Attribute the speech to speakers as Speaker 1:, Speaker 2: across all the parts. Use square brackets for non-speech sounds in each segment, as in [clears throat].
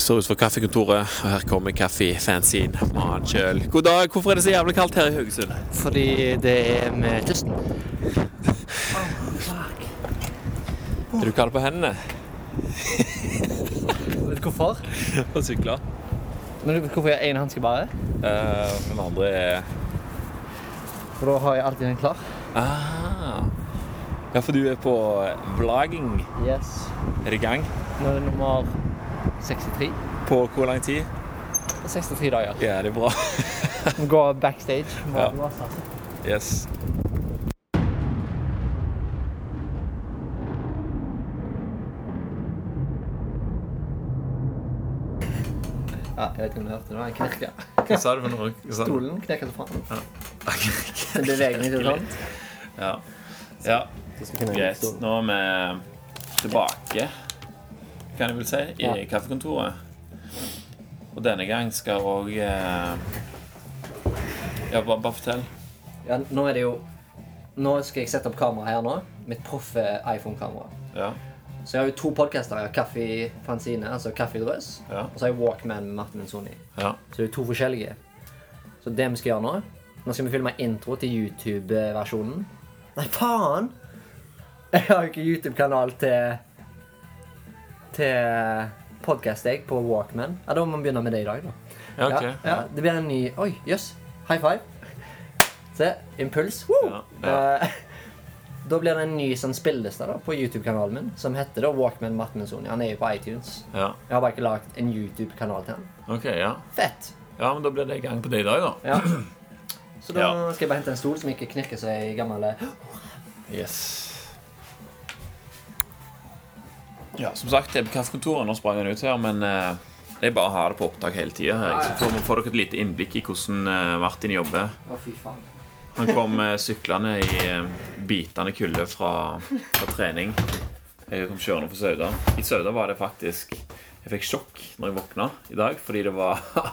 Speaker 1: Står utenfor kaffekontoret, og her kommer kaffefanzien. Mann kjøl. God dag. Hvorfor er det så jævlig kaldt her i Haugesund?
Speaker 2: Fordi det er med kysten.
Speaker 1: Er du kald på [laughs] hendene?
Speaker 2: Vet du hvorfor?
Speaker 1: Og sykler?
Speaker 2: Men du vet hvorfor jeg har én hanske bare?
Speaker 1: Uh, den andre er
Speaker 2: For da har jeg alltid en klar.
Speaker 1: ah. Ja, for du er på vlogging.
Speaker 2: Yes.
Speaker 1: Er det i gang?
Speaker 2: Nå er det nummer 63.
Speaker 1: På hvor lang tid?
Speaker 2: 63 dager.
Speaker 1: Ja, det er bra. [laughs]
Speaker 2: Vi går backstage. Vi
Speaker 1: Ja.
Speaker 2: må låse.
Speaker 1: Yes.
Speaker 2: Ja, jeg vet ikke om du hørte det. Det var en knirk, ja.
Speaker 1: Hva sa du for noe? Hva sa du?
Speaker 2: Stolen knirker så faen.
Speaker 1: Ok.
Speaker 2: Den beveger meg ikke sånn.
Speaker 1: Ja. ja.
Speaker 2: Jeg skal finne en
Speaker 1: Greit.
Speaker 2: stol.
Speaker 1: Nå er vi tilbake, kan jeg vel si, i
Speaker 2: Ja.
Speaker 1: kaffekontoret. Og denne gang skal òg eh... Ja, bare, bare fortell.
Speaker 2: Ja, nå er det jo Nå skal jeg sette opp kamera her nå. Mitt proffe iPhone-kamera.
Speaker 1: Ja.
Speaker 2: Så jeg har jo to podcaster. Jeg har Kaffe Fanzine, altså Kaffedrøs.
Speaker 1: Ja.
Speaker 2: Og så har jeg Walkman med Martin Sony.
Speaker 1: ja.
Speaker 2: Så det er jo to forskjellige. Så det vi skal gjøre nå Nå skal vi filme intro til YouTube-versjonen. Nei, faen! Jeg har jo ikke YouTube-kanal til Til podkast, jeg, på Walkman. Ja, Da må vi begynne med det i dag, da.
Speaker 1: Ja, ok.
Speaker 2: ja, ja, det blir en ny Oi, jøss. High five. Se. Impuls. Woo!
Speaker 1: Ja, ja.
Speaker 2: Eh, [laughs] da blir det en ny sånn spilleliste da, på YouTube-kanalen min, som heter da Walkman Martin Sony. Han er jo på iTunes.
Speaker 1: Ja.
Speaker 2: Jeg har bare ikke lagd en YouTube-kanal til han.
Speaker 1: Ok, ja.
Speaker 2: Fett!
Speaker 1: Ja, men da blir det i gang på det i dag, da.
Speaker 2: Ja. Så da
Speaker 1: Ja.
Speaker 2: skal jeg bare hente en stol som ikke knirker seg i gammel eh,
Speaker 1: Yes. Ja, som sagt, det er på kaffekontoret. Nå sprang han ut her, men eh, jeg bare har det på opptak hele tida. Så får vi- får dere et lite innblikk i hvordan eh, Martin jobber.
Speaker 2: Å, fy faen.
Speaker 1: Han kom eh, syklende i eh, bitende kulde fra, fra trening. Jeg kom kjørende fra Sauda. I Sauda var det faktisk Jeg fikk sjokk når jeg våkna i dag, fordi det var [laughs]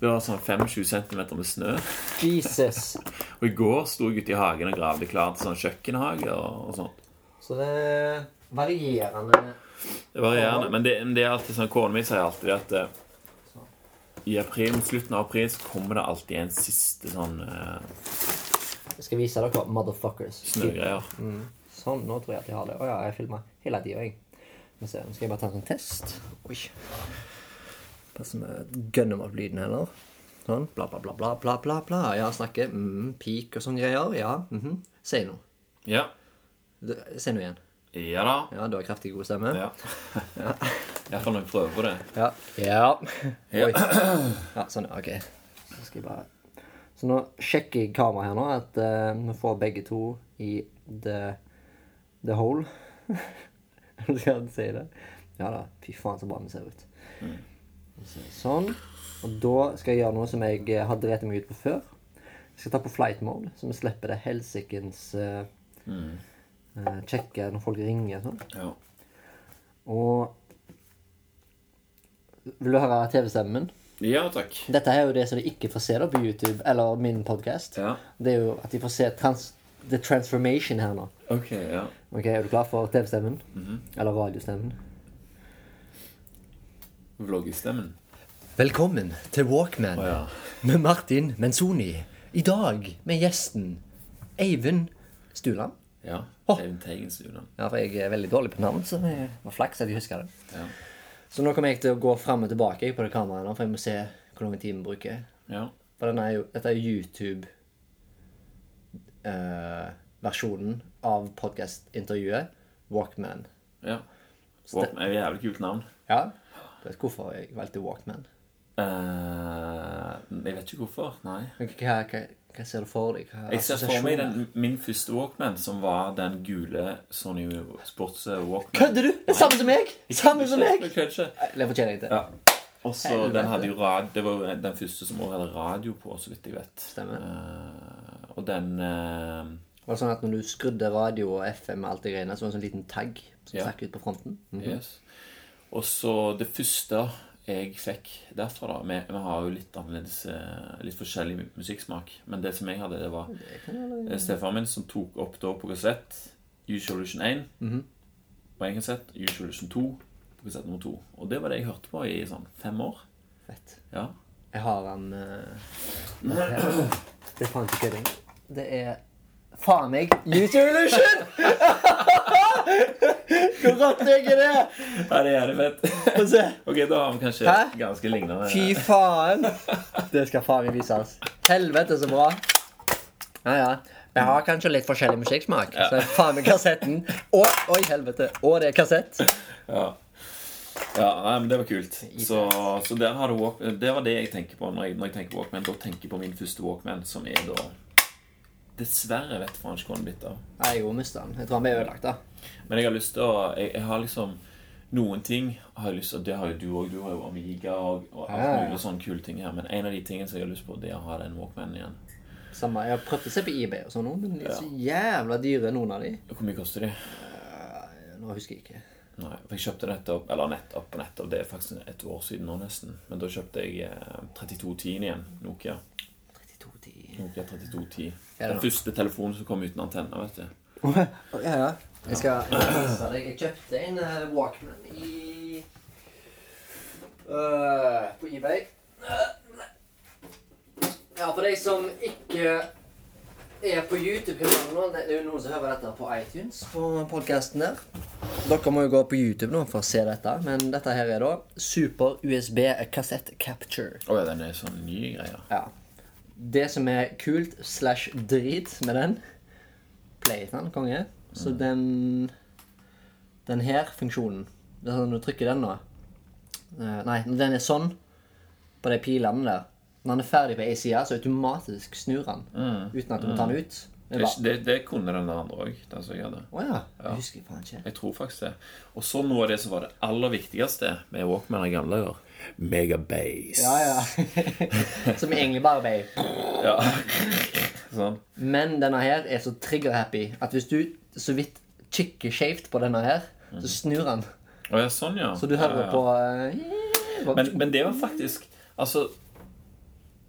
Speaker 1: Det var sånn 25 cm med snø.
Speaker 2: Jesus.
Speaker 1: Og i går sto jeg ute i hagen og gravde klar til sånn kjøkkenhage og, og sånt.
Speaker 2: Så det er varierende
Speaker 1: Det varierende. Men det, men det er alltid sånn Kona mi sier alltid at eh, i april, mot slutten av april så kommer det alltid en siste sånn eh,
Speaker 2: Jeg skal vise dere motherfuckers.
Speaker 1: snøgreier.
Speaker 2: Sånn, nå tror jeg at jeg har det. Å ja, jeg filmer hele tida, jeg. Men se, nå skal jeg bare ta en sånn test. Oi. Passer med gønner opp lyden heller. Sånn. Bla, bla, bla, bla, bla, bla. bla. Ja, snakke. Mm, pik og sånne greier. Ja. mhm. Si noe.
Speaker 1: Ja.
Speaker 2: Du- Si noe igjen.
Speaker 1: Ja da.
Speaker 2: Ja, du har kraftig god stemme.
Speaker 1: [laughs] Ja. Iallfall når jeg prøver på det.
Speaker 2: Ja. ja.
Speaker 1: Ja.
Speaker 2: Oi. Ja, sånn, ja, ok. Så skal jeg bare... Så nå sjekker jeg kameraet her nå, at eh, vi får begge to i the, the hole. [laughs] skal han si det? Ja da, fy faen så bra vi ser ut. Så- Sånn. Og da skal jeg gjøre noe som jeg eh, har drevet meg ut på før. Jeg skal ta på flight mode, så vi slipper det helsikens eh, eh, Sjekke når folk ringer og sånn.
Speaker 1: Ja.
Speaker 2: Og Vil du høre TV-stemmen min?
Speaker 1: ja takk.
Speaker 2: Dette er jo det som de ikke får se da på YouTube eller min podkast.
Speaker 1: Ja.
Speaker 2: Det er jo at de får se trans the transformation her nå.
Speaker 1: Ok, ja.
Speaker 2: Ok, Er du klar for TV-stemmen?
Speaker 1: Mhm.
Speaker 2: Eller radiostemmen?
Speaker 1: Vloggestemmen.
Speaker 2: Velkommen til Walkman
Speaker 1: Å ja.
Speaker 2: med Martin Menzoni. I dag med gjesten Eivind Stuland.
Speaker 1: Ja.
Speaker 2: Å.
Speaker 1: Eivind Teigen Studion.
Speaker 2: Ja, for jeg er veldig dårlig på navn, så det var flaks at jeg husker det.
Speaker 1: Ja.
Speaker 2: Så nå kommer jeg til å gå fram og tilbake jeg, på det kameraet, nå, for jeg må se hvor lang tid vi bruker.
Speaker 1: ja.
Speaker 2: For den er jo, dette er YouTube-versjonen eh, av podcast-intervjuet Walkman.
Speaker 1: ja. Walkman er et jævlig kult navn.
Speaker 2: Ja. Du vet hvorfor jeg valgte Walkman?
Speaker 1: Eh, jeg vet ikke hvorfor. Nei.
Speaker 2: Hva, hva, hva ser du for deg? Hva
Speaker 1: Jeg ser for meg
Speaker 2: assosiasjoner?
Speaker 1: den, min første Walkman, som var den gule Sony Sports eh, Walkman.
Speaker 2: Kødder du? Det er samme som meg! Samme som meg!
Speaker 1: Jeg kødder ikke.
Speaker 2: Det fortjener jeg til.
Speaker 1: Ja. Og så
Speaker 2: Helvete.
Speaker 1: den hadde jo rad, Det var jo den første som også hadde radio på, så vidt jeg vet.
Speaker 2: Stemmer.
Speaker 1: Eh, og den eh,
Speaker 2: Var det sånn at når du skrudde radio og FM og alt det greiene, så var det en sånn liten tagg som
Speaker 1: Ja.
Speaker 2: stakk ut på fronten? Mm.
Speaker 1: Yes. Og så det første jeg fikk derfra, da Vi, vi har jo litt annerledes eh, Litt forskjellig mu- musikksmak. Men det som jeg hadde, det var eh, stefaren min som tok opp da på kassett Usual Illusion 1 på en kassett, Usual Illusion 2 på kassett nummer to. Og det var det jeg hørte på i sånn fem år.
Speaker 2: Fett.
Speaker 1: Ja.
Speaker 2: Jeg har den eh, [clears throat] Det er faen ikke kødding. Det er faen meg User [laughs] Illusion! Hvor rått er ikke det?
Speaker 1: Ja, det er jævlig fett.
Speaker 2: Få se.
Speaker 1: [laughs] Ok, da har vi kanskje
Speaker 2: Hæ?
Speaker 1: ganske lignende eh,
Speaker 2: Fy faen. Det skal faen meg vises. Helvete, så bra. Ja, ja. Jeg har kanskje litt forskjellig musikksmak, så jeg faen meg kassetten. Og, oi, helvete. Og det er kassett.
Speaker 1: Ja. ja, nei, men det var kult. Så, så der har du walk, det var det jeg tenker på når jeg, når jeg tenker på Walkman. Da tenker jeg på min første Walkman, som er da Dessverre vet jeg faen ikke hva den er blitt av.
Speaker 2: Nei, Jeg mista den. Jeg tror han ble ødelagt, da.
Speaker 1: Men jeg har lyst til å jeg, jeg har liksom noen ting har jeg lyst til, Det har jo du òg. Du har jo Amiga og, og
Speaker 2: Ja, ja.
Speaker 1: alt mulig sånne kule ting her. Men en av de tingene som jeg har lyst på, det er å ha den Walkmanen igjen.
Speaker 2: Samme, Jeg har prøvd å se på eBay, og sånn, nå, men de er så jævla dyre, noen av de. Eh,
Speaker 1: Hvor mye koster de?
Speaker 2: Nå husker jeg ikke.
Speaker 1: Nei, for jeg kjøpte nettopp Eller nettopp og nettopp. Det er faktisk et år siden nå, nesten. Men da kjøpte jeg eh, 3210 igjen. Nokia.
Speaker 2: 3210
Speaker 1: Nokia 3210.
Speaker 2: Ja, da.
Speaker 1: Den første telefonen som kom uten antenne, vet du.
Speaker 2: Ja, ja. Jeg skal jeg skal vise deg. Jeg kjøpte en eh, Walkman i øh, På eBay. Ja, for de som ikke er på YouTube-kanalen nå Det er jo noen som hører dette på iTunes, på podkasten der. Dere må jo gå på YouTube nå for å se dette, men dette her er da Super USB Cassette Capture.
Speaker 1: Å ja, den er sånn nye greier.
Speaker 2: Ja. Det som er kult slash drit med den Playton, konge. Så den Den her funksjonen det er sånn, Når du trykker den nå eh, Nei, når den er sånn på de pilene der Når den er ferdig på ei side, så automatisk snur den. Uten at du må ta den ut. Det
Speaker 1: Det,
Speaker 2: er bare,
Speaker 1: det, det kunne den der andre òg, den som jeg hadde.
Speaker 2: Å ja. Jeg husker faen ikke.
Speaker 1: Jeg tror faktisk det. Og så noe av det som var det aller viktigste med Walkman i gamle dager. Megabase.
Speaker 2: Ja, ja. [laughs] som egentlig bare ble
Speaker 1: Ja. [laughs] sånn.
Speaker 2: Men denne her er så trigger-happy at hvis du så vidt kikker skjevt på denne her, så snur den.
Speaker 1: Å ja, sånn, ja.
Speaker 2: Så du hører
Speaker 1: ja, ja.
Speaker 2: på eh, hva-
Speaker 1: men, men det var faktisk Altså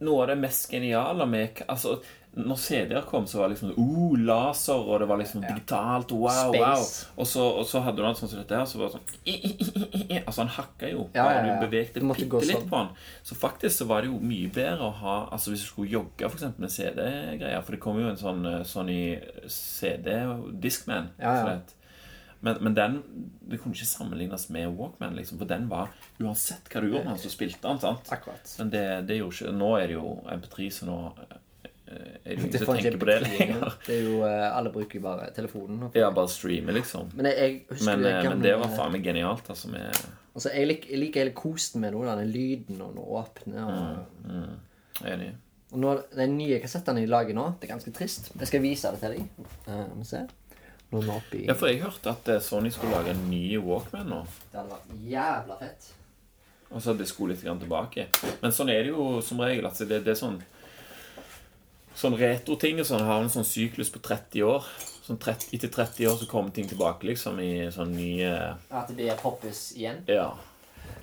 Speaker 1: Noe av det mest geniale med Altså når CD-er kom, så var det liksom uh, laser, og det var liksom digitalt. Wow,
Speaker 2: Space.
Speaker 1: wow. Og så, og så hadde du den sånn som dette her, så var det sånn [laughs] i, i, i, i, i. Altså, han hakka jo.
Speaker 2: Ja, ja,
Speaker 1: og
Speaker 2: ja.
Speaker 1: Du bevegte
Speaker 2: Det måtte gå
Speaker 1: bitte litt
Speaker 2: sånn.
Speaker 1: på den. Så faktisk så var det jo mye bedre å ha Altså Hvis du skulle jogge for eksempel med CD-greier, for det kom jo en sånn eh, Sony CD Discman.
Speaker 2: Ja, ja.
Speaker 1: som det het. Men, men den det kunne ikke sammenlignes med Walkman, liksom, for den var Uansett hva du gjorde med den, så spilte den. sant?
Speaker 2: Akkurat.
Speaker 1: Men det, det gjorde ikke Nå er det jo MP3, så nå eh, er det jo ingen som
Speaker 2: får ikke
Speaker 1: tenker på det
Speaker 2: betydning.
Speaker 1: lenger.
Speaker 2: [laughs] Det er jo, eh, alle bruker jo bare telefonen. nå.
Speaker 1: [laughs] Ja, bare streame, liksom.
Speaker 2: Men jeg, jeg husker
Speaker 1: Men,
Speaker 2: det
Speaker 1: eh,
Speaker 2: gamle
Speaker 1: men det var faen meg genialt, altså. Med,
Speaker 2: altså, jeg, lik, jeg liker hele kosen med noe, da, den lyden og den åpne.
Speaker 1: Mm.
Speaker 2: Og,
Speaker 1: jeg er enig.
Speaker 2: og nå, de nye kassettene de lager nå, det er ganske trist. Jeg skal vise det til deg. Eh, må se. Nå er vi oppe i
Speaker 1: Ja, for jeg hørte at eh, Sony skulle lage en ny Walkman nå.
Speaker 2: Det hadde vært jævla fett.
Speaker 1: Og så at det skulle litt grann tilbake. Men sånn er det jo som regel. at det, det er sånn Sånn retro-ting og sånn har en sånn syklus på 30 år. Sånn 30, etter 30 år så kommer ting tilbake, liksom, i sånn nye
Speaker 2: At det blir poppis igjen.
Speaker 1: Ja.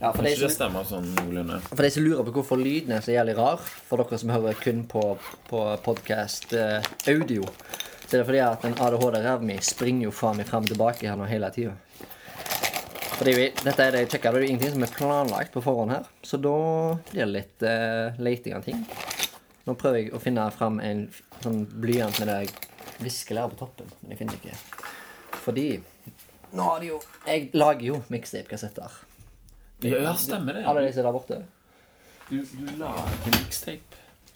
Speaker 2: Ja, for de
Speaker 1: Kanskje
Speaker 2: som
Speaker 1: det stemmer sånn noenlunde.
Speaker 2: For de som lurer på hvorfor lyden er så jævlig rar, for dere som hører kun på, på podkast eh, audio, så er det fordi at den ADHD-ræva mi springer jo faen meg fram og tilbake her nå hele tida. Fordi vi, dette er det jeg sjekka, det er jo ingenting som er planlagt på forhånd her, så da blir det litt eh, leiting av ting. Nå prøver jeg å finne fram en f- sånn blyant med det viskelæret på toppen, men jeg finner det ikke. Fordi Nå har de jo Jeg lager jo mixtape-kassetter.
Speaker 1: Ja, ja, stemmer det. liksom-
Speaker 2: Alle de som er der borte.
Speaker 1: Du, du lager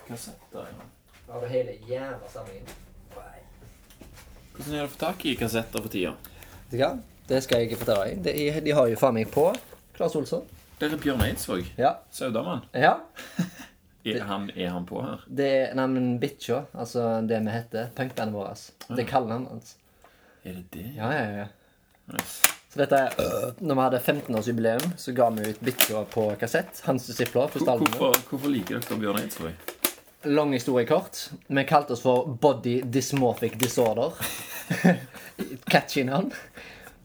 Speaker 1: mixtape-kassetter. ja.
Speaker 2: Har du hele jævla samlingen? Vet
Speaker 1: Hvordan er det å få tak i kassetter for tida?
Speaker 2: du hva? Det skal jeg ikke fortelle deg. De, de har jo faen meg på Claes Olsson.
Speaker 1: Der er Bjørn Eidsvåg.
Speaker 2: Ja.
Speaker 1: Saudamann.
Speaker 2: ja.
Speaker 1: Er han, er han på her?
Speaker 2: Det er Nei, men bitcha. Altså det vi heter. Punkbandet vårt. altså. Det er kallenavnet hans.
Speaker 1: Er det det?
Speaker 2: Ja, ja, ja.
Speaker 1: Nice.
Speaker 2: Så dette er [clears throat] Når vi hadde 15-årsjubileum, så ga vi ut bitcha på kassett. Hans disipler. Første albumet.
Speaker 1: Hvorfor, hvorfor liker dere Bjørn Eidsvåg?
Speaker 2: Lang historie kort. Vi kalte oss for Body Dysmorphic Disorder. [laughs] Catchy navn.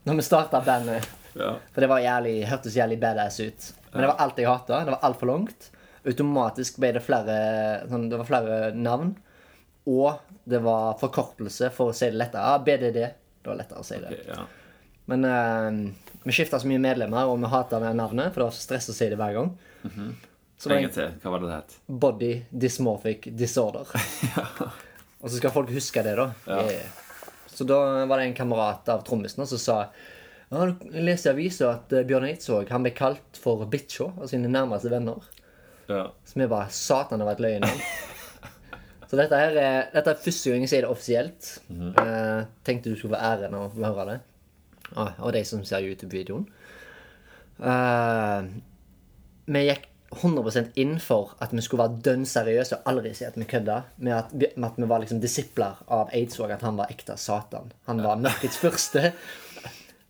Speaker 2: Når vi starta bandet.
Speaker 1: Ja.
Speaker 2: For det var jævlig, hørtes jævlig badass ut. Men det var alt jeg hata. Det var altfor langt. Automatisk ble det flere, sånn, det var flere navn. Og det var forkortelse for å si det lettere. Ah, BDD. Det var lettere å si det.
Speaker 1: ja.
Speaker 2: Men eh, Vi skifta så mye medlemmer, og vi hata det navnet, for det var så stress å si det hver gang. Så det
Speaker 1: En gang
Speaker 2: var
Speaker 1: til. Hva var det det het?
Speaker 2: en Body Dysmorphic Disorder. Og så skal folk huske det, da. Eh, Så da var det en kamerat av trommisen som sa ja, jeg leste i avisa at eh, Bjørn Eidsvåg han ble kalt for bitcha av sine nærmeste venner.
Speaker 1: Ja.
Speaker 2: Så vi bare Satan, det var et løgnnavn. Så dette her er, dette er første gang jeg sier det offisielt. Eh, tenkte du skulle få æren av å høre det. Ah, og de som ser YouTube-videoen. Eh, vi gikk 100 inn for at vi skulle være dønn seriøse og aldri si at vi kødda. Med at, vi- med at vi var liksom disipler av Eidsvåg, at han var ekte Satan. Han var mørkets første.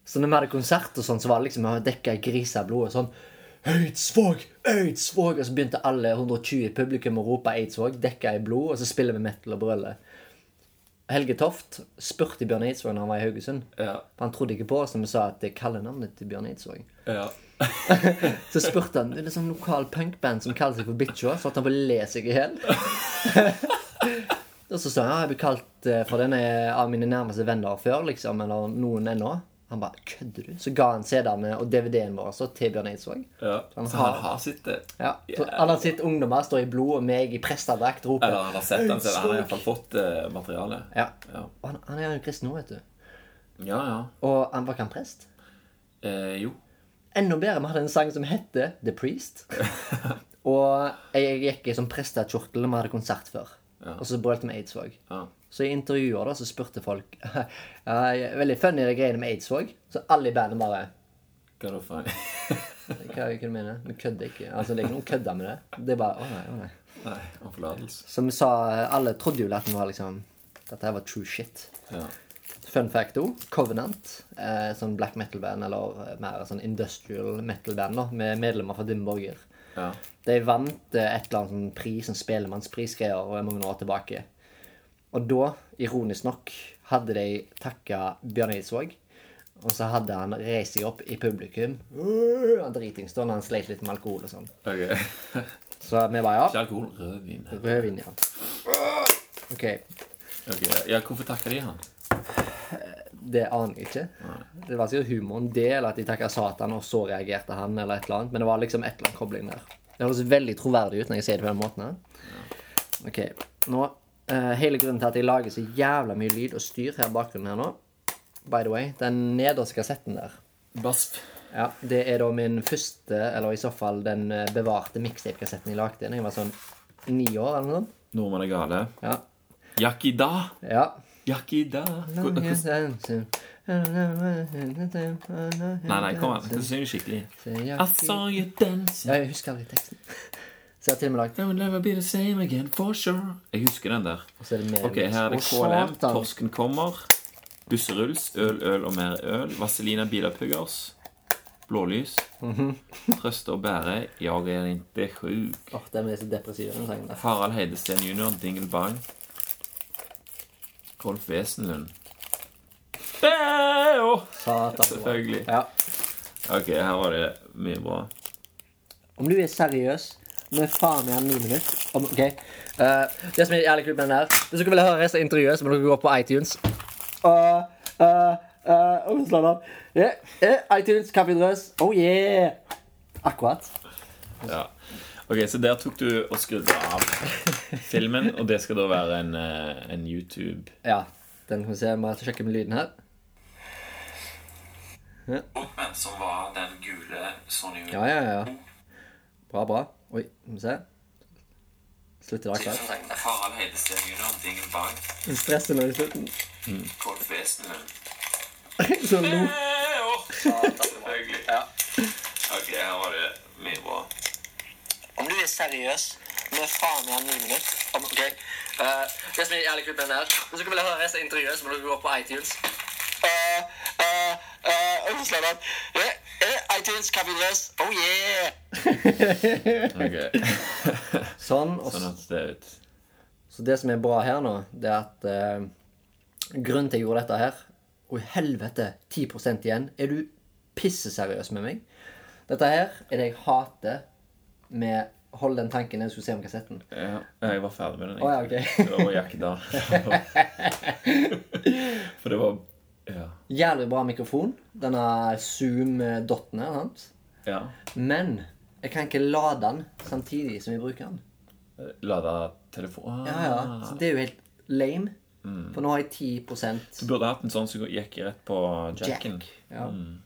Speaker 2: Så når vi hadde konsert og sånn, så var det liksom å dekke griseblod og sånn. Eidsvåg! Eidsvåg! Og så begynte alle 120 i publikum å rope Eidsvåg, dekka i blod, og så spiller vi metal og brøler. Helge Toft spurte Bjørn Eidsvåg når han var i Haugesund.
Speaker 1: Ja.
Speaker 2: For Han trodde ikke på oss når vi sa at det er kallenavnet til Bjørn Eidsvåg.
Speaker 1: Ja.
Speaker 2: Så spurte han det er et sånn lokal punkband som kaller seg for Bitcha. Så at han bare ler seg i
Speaker 1: [laughs]
Speaker 2: hjel. Og så sa han ja, jeg blir kalt eh, for denne av mine nærmeste venner før, liksom, eller noen ennå. Han bare kødder du? Så ga han CD-ene og DVD-en vår også til Bjørn Eidsvåg.
Speaker 1: ja.
Speaker 2: Han
Speaker 1: Så
Speaker 2: har-
Speaker 1: han har eh, sett det.
Speaker 2: Ja. Så alle hans sitt ungdommer står i blod, og meg i prestedrakt roper
Speaker 1: Eller han har sett den, så han har
Speaker 2: «Eidsvåg!»
Speaker 1: iallfall fått eh, materialet.
Speaker 2: Ja.
Speaker 1: Ja,
Speaker 2: Og han, han er jo kristen nå, vet du.
Speaker 1: ja. ja.
Speaker 2: Og han var ikke han prest.
Speaker 1: Eh, jo.
Speaker 2: Enda bedre, vi hadde en sang som hette The Priest. og jeg gikk i sånn prestekjortel når vi hadde konsert før. Og så brølte vi Eidsvåg.
Speaker 1: Ja.
Speaker 2: Så i intervjuer da, så spurte folk [laughs] ja, jeg er Veldig funny det greiene med Eidsvåg. Så alle i bandet bare
Speaker 1: Hva da for en
Speaker 2: Hva er det du mener? Vi kødder ikke. Altså, det er ikke noen kødder med det. Det er bare Å nei, å nei.
Speaker 1: [laughs] Nei, om forlatelse.
Speaker 2: Så vi sa Alle trodde jo at vi var liksom Dette her var true shit.
Speaker 1: Ja.
Speaker 2: Fun fact òg. Covenant, eh, sånn black metal-band, eller eh, mer sånn industrial metal-band, da, med medlemmer fra Dimborger.
Speaker 1: Ja.
Speaker 2: De vant eh, et eller annet sånn pris, sånn spelemannsprisgreier eh, mange år tilbake. Og da, ironisk nok, hadde de takka Bjørn Eidsvåg. Og så hadde han reist seg opp i publikum. Øh, Han dritings da, når han sleit litt med alkohol og sånn.
Speaker 1: Ok.
Speaker 2: Så vi bare ja.
Speaker 1: Ikke alkohol, rødvin.
Speaker 2: Rødvin, ja. OK.
Speaker 1: Ok, ja, Hvorfor takker de han?
Speaker 2: Det aner jeg ikke. Det var sikkert humoren det, eller at de takka Satan, og så reagerte han, eller et eller annet. Men det var liksom et eller annet kobling der. Det høres veldig troverdig ut når jeg sier det på den måten her. Ok, nå eh, Hele grunnen til at jeg lager så jævla mye lyd og styr her i bakgrunnen her nå By the way, den nederste kassetten der
Speaker 1: Basp.
Speaker 2: Ja, det er da min første, eller i så fall den eh, bevarte mixtape-kassetten jeg lagde da jeg var sånn ni år eller noe sånt.
Speaker 1: Nordmenn er gale.
Speaker 2: Ja.
Speaker 1: Yakida!
Speaker 2: ja.
Speaker 1: Yakida! Hvordan- hvordan- Nei, nei, kom an. Du synger skikkelig. I saw you dancing.
Speaker 2: Ja, jeg husker aldri teksten. [laughs] Så jeg har til og med lagd
Speaker 1: That will never be the same again, for sure. Jeg husker den der.
Speaker 2: Ehm, Og så er det mer
Speaker 1: Ok, her er det
Speaker 2: Å,
Speaker 1: KLM.
Speaker 2: satan.
Speaker 1: Torsken kommer. Busseruls. Øl, øl og mer øl. Vaselina Bilapuggers. Blålys.
Speaker 2: Mhm.
Speaker 1: Trøste og bære. Jeg er ikke sjuk.
Speaker 2: Åh, den er så depressiv, den sangen der.
Speaker 1: Harald Heidesteen jr. Dingle Bang. Rolf Wesenlund. Bæå!
Speaker 2: Satan.
Speaker 1: Selvfølgelig.
Speaker 2: Ja.
Speaker 1: Ok, her var det mye bra.
Speaker 2: Om du er seriøs Nå er faen meg ni minutter. Om, ok. Eh, det som er jævlig kult med den der Hvis dere vil høre resten av intervjuet, så må dere gå på iTunes. Uh, uh, uh, og slå den av. Yeah, yeah, iTunes, kaffedrøs. Oh yeah! Akkurat.
Speaker 1: Ja. Ok, så der tok du og skrudde av filmen, og det skal da være en, eh, en YouTube
Speaker 2: Ja. Den kan vi se. Jeg må sjekke med lyden her.
Speaker 1: Oppmenn som var den gule Sony
Speaker 2: Ja, ja, ja. Bra, bra. Oi, skal vi se. Slutter det akkurat?
Speaker 1: Harald Heidesteen jr. Dingle Bang.
Speaker 2: Det stresser nå i slutten. [laughs]
Speaker 1: Rolf Wesenlund.
Speaker 2: Så lo. Eh,
Speaker 1: Selvfølgelig. Ok, her var det mye bra.
Speaker 2: Om du er seriøs, nå er faen meg ni minutter. Om, ok, Eh, det som er jævlig kult med den her, hvis dere vil høre resten av intervjuet, så må dere gå på iTunes. Eh, eh, eh, og så slår den. Eh, eh, iTunes, kaffedrøs, oh yeah!
Speaker 1: Ok,
Speaker 2: Sånn, og
Speaker 1: sånn hørtes det ut.
Speaker 2: Så det som er bra her nå, det er at eh, grunnen til jeg gjorde dette her Å, helvete! 10 igjen. Er du pisseseriøs med meg? Dette her er det jeg hater med Hold den tanken jeg skulle se om kassetten.
Speaker 1: Ja, jeg var ferdig med den.
Speaker 2: [laughs] Å, ja, ok.
Speaker 1: Det var jakk da. For det var Ja.
Speaker 2: Jævlig bra mikrofon. Denne Zoom-dottene. sant?
Speaker 1: ja.
Speaker 2: Men jeg kan ikke lade den samtidig som vi bruker den.
Speaker 1: Lada telefon Ah.
Speaker 2: Ja, Mm. ja. Så det er jo helt lame. For nå har jeg 10
Speaker 1: Du burde hatt en sånn som gikk rett på jacken.
Speaker 2: Jack. Ja.
Speaker 1: Mm.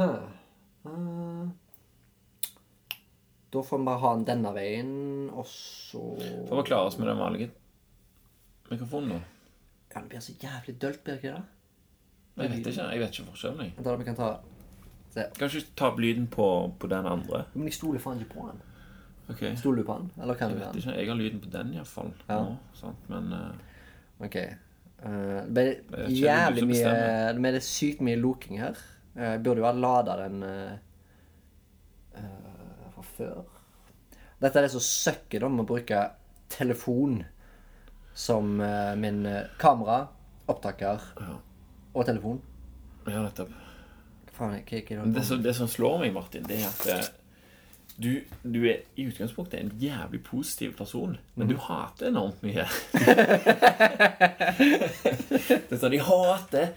Speaker 2: Huh. Eh, Da får vi bare ha den denne veien, og så
Speaker 1: For å klare oss med den vanlige mikrofonen nå.
Speaker 2: Ja, det blir så jævlig dølt, blir det ikke det?
Speaker 1: Jeg vet ikke, jeg vet ikke forskjellen. jeg.
Speaker 2: Jeg tror vi kan ta Se.
Speaker 1: Kanskje ta opp lyden på, på den andre.
Speaker 2: Men jeg stoler faen ikke på den.
Speaker 1: Ok, Jeg
Speaker 2: Stoler du på den, eller kan du
Speaker 1: vet
Speaker 2: den?
Speaker 1: ikke, jeg har lyden på den iallfall. Ja. sant? Men eh,
Speaker 2: Ok. Eh, det ble
Speaker 1: er ikke du
Speaker 2: jævlig
Speaker 1: som
Speaker 2: mye
Speaker 1: bestemmer.
Speaker 2: Det ble det sykt mye loking her. Eh, Jeg burde jo ha lada den eh, eh, fra før. Dette er det som søkker da med å bruke telefon som eh, min eh, kamera, opptaker
Speaker 1: Ja.
Speaker 2: og telefon.
Speaker 1: ja, nettopp.
Speaker 2: Hva faen er hva er det?
Speaker 1: Men Det som, det som slår meg, Martin, det er at eh, du, du er i utgangspunktet en jævlig positiv person, men du
Speaker 2: Mhm.
Speaker 1: hater enormt
Speaker 2: [laughs]
Speaker 1: mye. det er sånn De hater!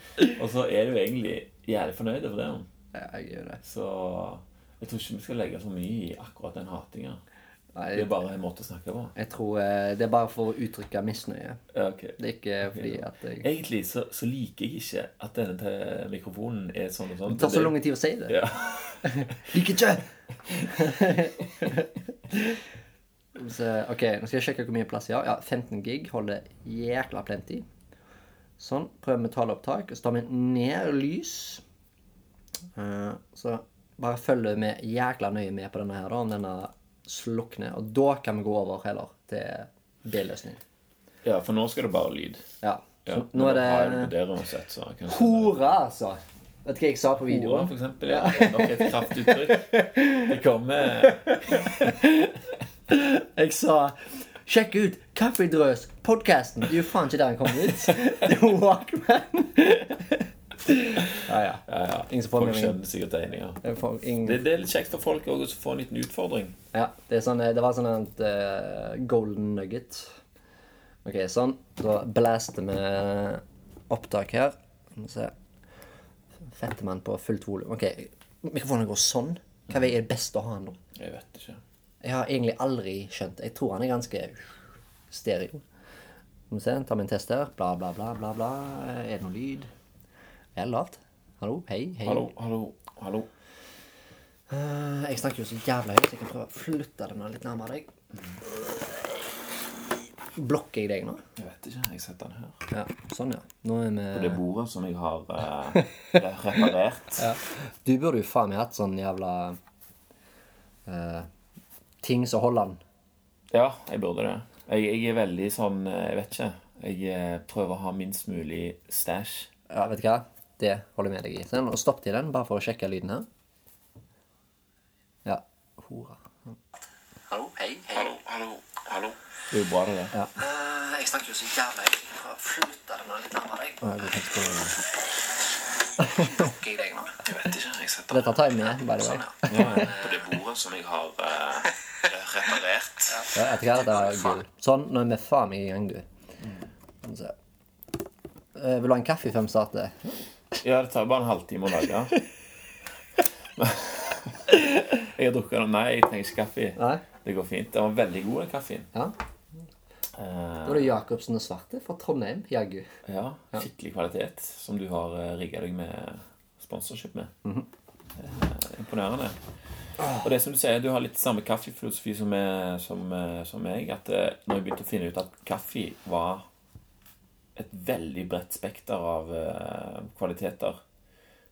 Speaker 1: Og så er du egentlig jævlig fornøyd over det. nå.
Speaker 2: Ja, jeg gjør det.
Speaker 1: Så jeg tror ikke vi skal legge for mye i akkurat den hatinga.
Speaker 2: Nei,
Speaker 1: Det er bare en måte å snakke på.
Speaker 2: jeg tror eh, det er bare for å uttrykke misnøye.
Speaker 1: Ja, ok.
Speaker 2: Det er ikke fordi at jeg
Speaker 1: Egentlig så, så liker jeg ikke at denne te- mikrofonen er sånn og sånn.
Speaker 2: Det tar så lang tid å si det. [laughs]
Speaker 1: Ja.
Speaker 2: Liker ikke! [laughs] så, ok, nå skal jeg sjekke hvor mye plass jeg har. Ja, 15 gig holder jækla plenty. Sånn. Prøver med taleopptak. Så tar vi ned lys. Eh, så bare følger vi jækla nøye med på denne her, da, om denne slukner. Og da kan vi gå over heller til B-løsning.
Speaker 1: ja, for nå skal det bare lyd.
Speaker 2: Ja.
Speaker 1: Ja.
Speaker 2: Så nå er det
Speaker 1: har jeg det på der uansett, så kanskje
Speaker 2: Hore, altså! Vet du hva jeg sa på
Speaker 1: Hora,
Speaker 2: videoen?
Speaker 1: for eksempel, ja. Det er nok et kraftuttrykk. Det kommer
Speaker 2: Jeg sa Sjekk ut Kaffedrøs, podkasten! Det er jo faen ikke der han kom ut. [laughs] Det er Walkman. ja, ja.
Speaker 1: ja, ja.
Speaker 2: Ingen som får
Speaker 1: Folk
Speaker 2: med meg.
Speaker 1: skjønner sikkert tegninger.
Speaker 2: Jeg får ingen-
Speaker 1: Det, det er litt kjekt for folk også å få en liten utfordring.
Speaker 2: Ja, det, er sånn, eh, det var sånn et eh, golden nugget. Ok, sånn. Da blaster vi opptak her. Skal vi se. Fetter man på fullt volum. Ok, mikrofonen går sånn. Hva vei er det beste å ha nå?
Speaker 1: Jeg vet ikke.
Speaker 2: Jeg har egentlig aldri skjønt det. Jeg tror han er ganske stereo. Skal vi se, tar vi en test her. Bla, bla, bla, bla, bla. Er det noe lyd? Er det lavt? Hallo? Hei? Hei?
Speaker 1: Hallo, hallo, hallo.
Speaker 2: Eh, jeg snakker jo så jævla høyt, så jeg kan prøve å flytte den litt nærmere deg. Blokker jeg deg nå?
Speaker 1: Jeg vet ikke. Jeg setter den her.
Speaker 2: Ja, sånn, ja. Nå er
Speaker 1: Det
Speaker 2: vi
Speaker 1: bordet som jeg har eh, reparert.
Speaker 2: Du burde jo faen meg hatt sånn jævla eh, Ting som holder den.
Speaker 1: Ja, jeg burde det. Jeg, jeg er veldig sånn eh, Jeg vet ikke. Jeg eh, prøver å ha minst mulig stæsj.
Speaker 2: Ja, vet du hva? Det holder jeg med deg i. Sånn, og stopp til den, bare for å sjekke lyden her. Ja. Hora.
Speaker 3: Hallo, hei, hei.
Speaker 1: Hallo, hallo, hallo. Det er jo bra, det der.
Speaker 3: Eh, jeg snakker jo så jævla høyt. Jeg prøver å flytte den litt nærmere deg.
Speaker 2: Ja, jeg kan ikke spørre.
Speaker 3: Lukker jeg deg nå? Sånn,
Speaker 1: Jeg vet ikke. Jeg setter
Speaker 2: Dette tar jeg med, by the way.
Speaker 1: på det bordet som jeg har eh, reparert.
Speaker 2: Ja, vet du hva? Dette er gull. Sånn, nå er vi faen meg i gang, du. Skal vi se. Eh, vil du ha en kaffe før vi starter?
Speaker 1: Ja, det tar bare en halvtime å lage. jeg har drukket den. Nei, jeg trenger ikke kaffe.
Speaker 2: Nei?
Speaker 1: Det går fint. Den var veldig god, den kaffen.
Speaker 2: Ja. Da
Speaker 1: Eh,
Speaker 2: er det Jacobsen og Svarte fra Trondheim, jaggu.
Speaker 1: ja, skikkelig kvalitet som du har uh, rigga deg med sponsorship med. Eh, imponerende. Og det som du sier, du har litt samme kaffefilosofi som, eh, som, eh, som meg. At eh, når jeg begynte å finne ut at kaffe var et veldig bredt spekter av eh, kvaliteter,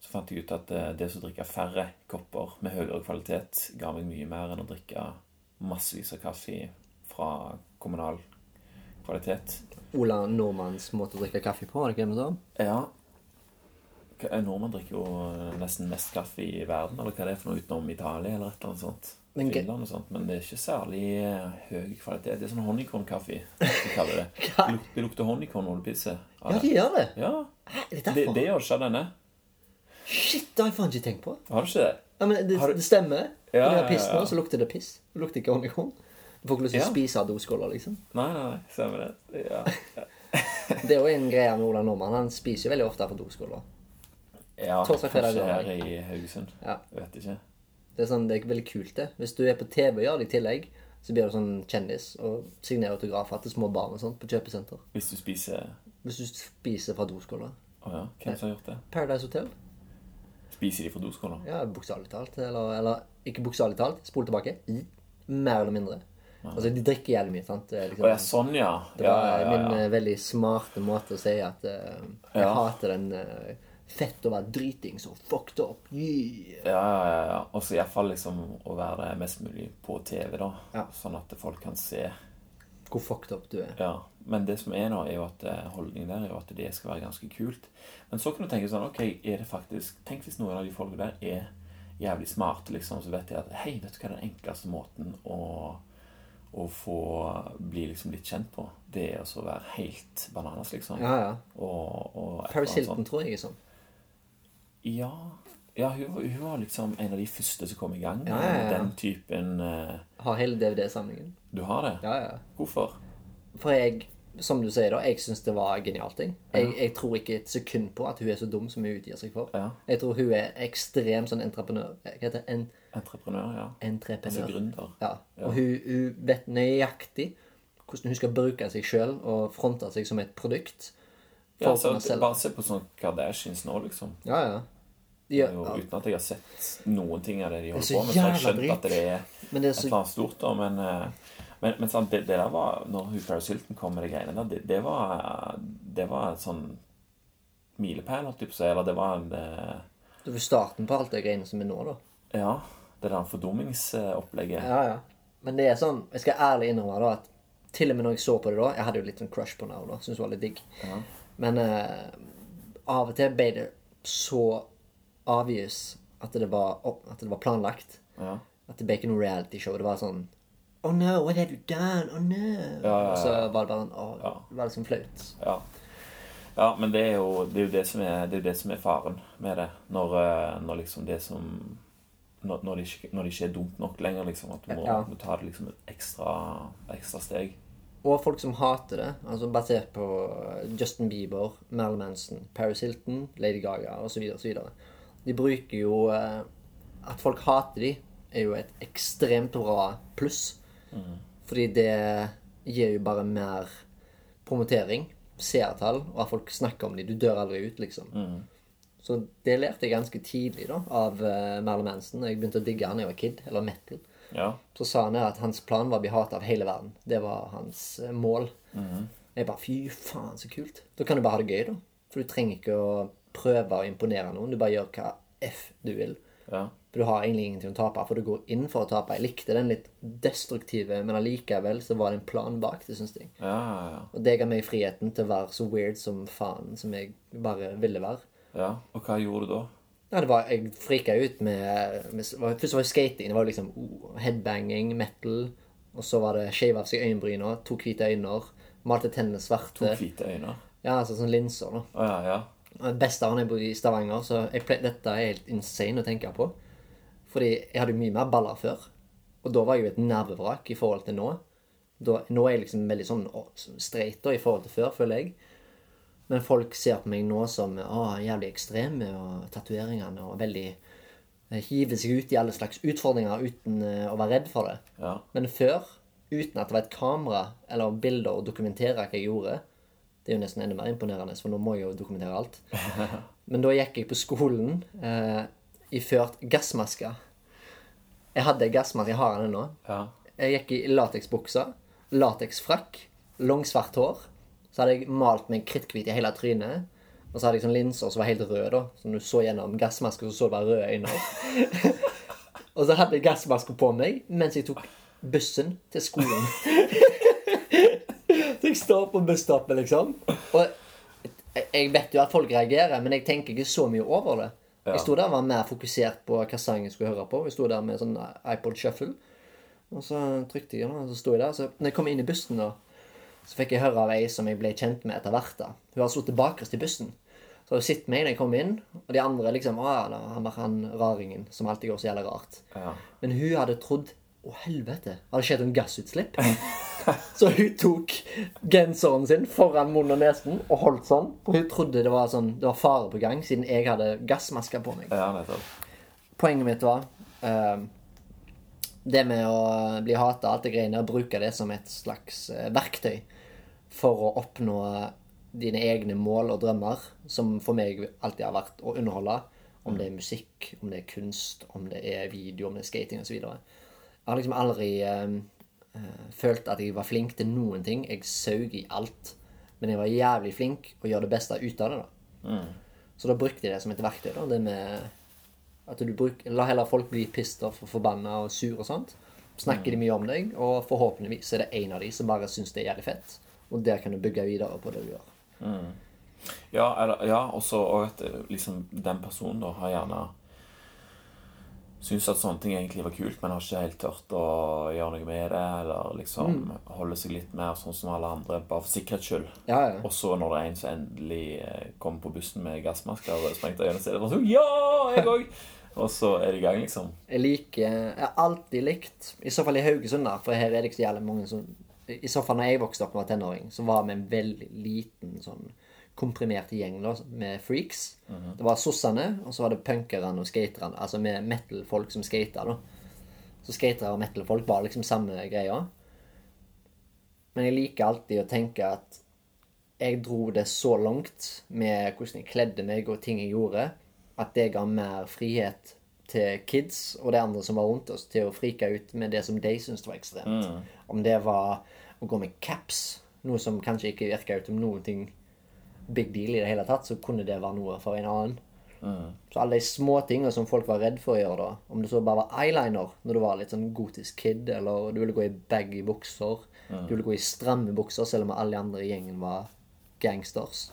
Speaker 1: så fant jeg ut at eh, det som drikker færre kopper med høyere kvalitet, ga meg mye mer enn å drikke massevis av kaffe fra kommunal kvalitet.
Speaker 2: Ola Nordmanns måte å drikke kaffe på, var det ikke det sånn? vi sa?
Speaker 1: Ja. Hva- en Nordmenn drikker jo eh, nesten mest kaffe i verden, eller hva det er for noe utenom Italia eller et eller annet sånt.
Speaker 2: Men ge-
Speaker 1: Finland og sånt, men det er ikke særlig eh, høy kvalitet. Det er sånn
Speaker 2: [laughs]
Speaker 1: honningkornkaffe. som de kaller Det Det luk- det lukter honningkorn når du pisser. av
Speaker 2: Ja,
Speaker 1: det.
Speaker 2: de gjør det!
Speaker 1: Ja,
Speaker 2: Hæ, er det
Speaker 1: det,
Speaker 2: derfor?
Speaker 1: det gjør ikke denne.
Speaker 2: Shit, det har jeg faen ikke tenkt på.
Speaker 1: Har du ikke det?
Speaker 2: Ja, men det,
Speaker 1: Har du-
Speaker 2: det stemmer.
Speaker 1: Ja,
Speaker 2: Når
Speaker 1: ja,
Speaker 2: jeg
Speaker 1: ja,
Speaker 2: pisser nå,
Speaker 1: ja.
Speaker 2: så lukter det piss. Det lukter ikke honningkorn. Du får ikke lyst til å
Speaker 1: Ja.
Speaker 2: spise av doskåla, liksom.
Speaker 1: Nei, nei, nei, stemmer det. Ja.
Speaker 2: Det er jo en greie med Ola Nordmann. Han spiser jo veldig ofte på doskåla.
Speaker 1: Ja,
Speaker 2: [laughs] Torsdag, fredag,
Speaker 1: kanskje
Speaker 2: lørdag.
Speaker 1: her i Haugesund.
Speaker 2: Ja.
Speaker 1: Vet ikke.
Speaker 2: Det er sånn, det er veldig kult, det. Hvis du er på TV og gjør det i tillegg, så blir du sånn kjendis og signerer autografer til små barn og sånt på kjøpesenter.
Speaker 1: Hvis du spiser
Speaker 2: Hvis du spiser fra doskåla.
Speaker 1: Å ja, hvem som har gjort det?
Speaker 2: Paradise Hotel.
Speaker 1: Spiser de fra doskåla?
Speaker 2: Ja, bokstavelig talt. Eller, eller ikke bokstavelig talt. Spol tilbake. I. Mer eller mindre. Altså, de drikker jævlig mye, sant. Det
Speaker 1: Å
Speaker 2: er Liksom,
Speaker 1: ja, sånn, ja.
Speaker 2: Det
Speaker 1: Ja,
Speaker 2: var
Speaker 1: ja,
Speaker 2: min
Speaker 1: ja.
Speaker 2: eh, veldig smarte måte å si at eh, jeg
Speaker 1: Ja.
Speaker 2: hater den eh, fett å være dritings og fucked up. Yeah.
Speaker 1: Ja, ja, ja, ja. Og så iallfall liksom å være mest mulig på TV, da.
Speaker 2: Ja.
Speaker 1: Sånn at folk kan se.
Speaker 2: Hvor fucked up du er.
Speaker 1: Ja. Men det som er nå, er jo at eh, holdningen der er jo at det skal være ganske kult. Men så kan du tenke sånn Ok, er det faktisk Tenk hvis noen av de folka der er jævlig smarte, liksom, så vet de at Hei, vet du hva er den enkleste måten å å få bli liksom litt kjent på, det er også å være helt bananas, liksom.
Speaker 2: Ja, ja.
Speaker 1: Og, og et eller annet sånt.
Speaker 2: Paris Hilton tror jeg er sånn.
Speaker 1: Ja, ja hun, var- hun var liksom en av de første som kom i gang med
Speaker 2: Ja, ja, ja.
Speaker 1: den typen eh,
Speaker 2: Har hele DVD-samlingen.
Speaker 1: Du har det?
Speaker 2: Ja, ja.
Speaker 1: Hvorfor?
Speaker 2: For jeg, som du sier da, jeg syns det var genialt. Jeg. Jeg, jeg tror ikke et sekund på at hun er så dum som hun utgir seg for.
Speaker 1: Ja.
Speaker 2: Jeg tror hun er ekstrem sånn entreprenør. Hva heter det? En,
Speaker 1: Entreprenør, ja.
Speaker 2: entreprenør.
Speaker 1: Altså gründer.
Speaker 2: Ja. Og hun, hun vet nøyaktig hvordan hun skal bruke seg sjøl og fronte seg som et produkt.
Speaker 1: Ja,
Speaker 2: For å
Speaker 1: altså,
Speaker 2: kunne selge.
Speaker 1: bare se på sånn Kardashians nå, liksom.
Speaker 2: Ja, ja.
Speaker 1: Det
Speaker 2: ja,
Speaker 1: er Jo,
Speaker 2: ja.
Speaker 1: uten at jeg har sett noen ting av det de holder
Speaker 2: så
Speaker 1: på med. Så har jeg
Speaker 2: jævla
Speaker 1: skjønt
Speaker 2: drit.
Speaker 1: at det er et
Speaker 2: Men det er
Speaker 1: eller
Speaker 2: så
Speaker 1: annet stort, da. Men, eh, men, men sant, det, det der var Når hun Paris Hilton kom med de greiene der, det, det var eh, Det var et sånn milepæl, holdt jeg på å si. Eller det var en eh,
Speaker 2: Det var starten på alt det greiene som er nå, da.
Speaker 1: Ja, det der fordummingsopplegget.
Speaker 2: Ja, ja. Men det er sånn Jeg skal ærlig innrømme da at til og med når jeg så på det da Jeg hadde jo litt sånn crush på henne da. Syns hun var litt digg. Men eh, av og til ble det så obvious at det var, opp- at det var planlagt.
Speaker 1: Ja.
Speaker 2: At det ble ikke noe realityshow. Det var sånn Oh no, what have you done? Oh no. Og så var det bare sånn Åh,
Speaker 1: Ja.
Speaker 2: det var liksom flaut.
Speaker 1: Ja. ja, men det er jo det, er jo det, som, er, det, er jo det som er faren med det. Når, eh, når liksom det som når, når, det ikke, når det ikke er dumt nok lenger, liksom. At du må,
Speaker 2: Ja.
Speaker 1: må ta det liksom et ekstra, ekstra steg.
Speaker 2: Og folk som hater det, altså basert på Justin Bieber, Marilyn Manson, Paris Hilton, Lady Gaga osv. osv. De bruker jo eh, At folk hater de, er jo et ekstremt bra pluss. Fordi det gir jo bare mer promotering, seertall, og at folk snakker om de. Du dør aldri ut, liksom. Så det lærte jeg ganske tidlig da, av eh, Marilyn Manson. Jeg begynte å digge han da jeg var kid, eller metal.
Speaker 1: Ja.
Speaker 2: Så sa han her at hans plan var å bli hatet av hele verden. Det var hans eh, mål. Jeg bare fy faen, så kult. Da kan du bare ha det gøy, da. For du trenger ikke å prøve å imponere noen. Du bare gjør hva f du vil.
Speaker 1: ja.
Speaker 2: For du har egentlig ingenting å tape, for du går inn for å tape. Jeg likte den litt destruktive, men allikevel så var det en plan bak det, syns jeg.
Speaker 1: Ja, ja, ja.
Speaker 2: Og det ga meg friheten til å være så weird som faen som jeg bare ville være.
Speaker 1: ja. Og hva gjorde du da?
Speaker 2: Ja, det var, jeg frika ut med, med var, Først var det skating. Det var liksom oh, headbanging, metal. Og så var det shave av seg øyenbryna, to hvite øyne, malte tennene
Speaker 1: To
Speaker 2: svarte.
Speaker 1: hvite øyne?
Speaker 2: Ja, altså sånn linser, da.
Speaker 1: Å ja, ja.
Speaker 2: Og det Beste av når jeg bodde i Stavanger, så jeg ple, dette er helt insane å tenke på. Fordi jeg hadde jo mye mer baller før. Og da var jeg jo et nervevrak i forhold til nå. Da, nå er jeg liksom veldig sånn å, streit da, i forhold til før, føler jeg. Men folk ser på meg nå som å, jævlig ekstrem og tatoveringene og veldig eh, Hiver seg ut i alle slags utfordringer uten eh, å være redd for det.
Speaker 1: Ja.
Speaker 2: Men før, uten at det var et kamera eller bilder å dokumentere hva jeg gjorde Det er jo nesten enda mer imponerende, for nå må jeg jo dokumentere alt. Men da gikk jeg på skolen eh, iført gassmaske. Jeg hadde gassmaske, jeg har den ennå.
Speaker 1: ja.
Speaker 2: Jeg gikk i lateksbukser, lateksfrakk, langsvart hår. Så hadde jeg malt meg kritthvit i hele trynet. Og så hadde jeg sånn linser som var helt røde, da. Som du så gjennom gassmaske, så så du bare røde øyne. og så hadde jeg gassmaske på meg mens jeg tok bussen til skolen. så jeg står på busstoppet, liksom. Og jeg- jeg vet jo at folk reagerer, men jeg tenker ikke så mye over det. Jeg sto der og var mer fokusert på hva sang jeg skulle høre på. Jeg sto der med sånn iPod Shuffle. Og så trykte jeg, og så sto jeg der. Så når jeg kom inn i bussen, da, så fikk jeg høre av ei som jeg ble kjent med etter hvert. da. Hun har sittet bakerst i bussen. Så hun sitter meg når jeg kom inn, og de andre liksom ah, da, han, var han raringen som alltid går så jævla rart.
Speaker 1: Ja.
Speaker 2: Men hun hadde trodd Å, helvete! Har det skjedd en gassutslipp? [laughs] Så hun tok genseren sin foran munnen og nesen og holdt sånn. For hun trodde det var, sånn, det var fare på gang, siden jeg hadde gassmaske på meg.
Speaker 1: Ja, nettopp.
Speaker 2: Poenget mitt var eh, det med å bli hata, alt det greiene, og bruke det som et slags eh, verktøy for å oppnå dine egne mål og drømmer, som for meg alltid har vært å underholde. Om det er musikk, om det er kunst, om det er video, om det er skating osv. Jeg har liksom aldri eh, eh, følt at jeg var flink til noen ting. Jeg saug i alt. Men jeg var jævlig flink og gjør det beste ut av det. da. Så da brukte jeg det som et verktøy. da, det med at du bruk, La heller folk bli pissed off og forbanna og sur og sånt. Snakker de mye om deg, og forhåpentligvis er det en av de som bare syns det er jævlig fett. Og der kan du bygge videre på det du gjør.
Speaker 1: Ja, eller, ja også, og at eh, liksom, den personen da har gjerne Syns at sånne ting egentlig var kult, men har ikke helt tørt å gjøre noe med det. Eller liksom
Speaker 2: Mm.
Speaker 1: holder seg litt mer sånn som alle andre, bare for sikkerhets skyld.
Speaker 2: Ja, ja.
Speaker 1: Og så når det er en som endelig eh, kommer på bussen med gassmasker og sprengte øyne, så er det bare sånn Ja, jeg òg! og så er det i gang, liksom.
Speaker 2: Jeg liker Jeg har alltid likt I så fall i Haugesund, da, for her er det ikke så jævlig mange som I så fall når jeg vokste opp og var tenåring, så var vi en veldig liten sånn komprimert gjeng da, med freaks. Det var sossene, og så var det punkerne og skaterne. Altså med metal-folk som skata, da. Så skatere og metal-folk var liksom samme greia. Men jeg liker alltid å tenke at jeg dro det så langt med hvordan jeg kledde meg og ting jeg gjorde, at det ga mer frihet til kids og de andre som var rundt oss, til å frike ut med det som de syntes var ekstremt. Om det var å gå med caps, noe som kanskje ikke virka ut som noen ting big deal i det hele tatt, så kunne det være noe for en annen. Så alle de små tingene som folk var redd for å gjøre da, om det så bare var eyeliner når du var litt sånn gotisk kid, eller du ville gå i baggy bukser, du ville gå i stramme bukser selv om alle andre i gjengen var gangsters.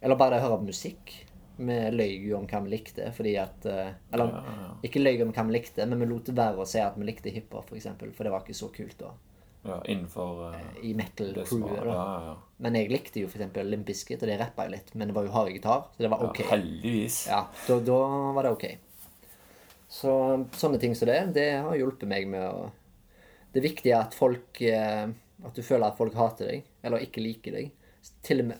Speaker 2: Eller bare det å høre på musikk. Vi løy jo om hva vi likte, fordi at eh, Eller ikke løy om hva vi likte, men vi lot være å si at vi likte hiphop, for eksempel, for det var ikke så kult da.
Speaker 1: Ja, innenfor eh,
Speaker 2: I
Speaker 1: det som
Speaker 2: metal-crewet,
Speaker 1: var
Speaker 2: da.
Speaker 1: Ja, ja.
Speaker 2: Men jeg likte jo for eksempel Limp Bizkit, og det rappa jeg litt, men det var jo hard gitar, så det var
Speaker 1: ja.
Speaker 2: ok.
Speaker 1: Heldigvis.
Speaker 2: Ja, da, da var det ok. Så sånne ting som det, det har hjulpet meg med å Det er viktig at folk eh, At du føler at folk hater deg, eller ikke liker deg. Til og med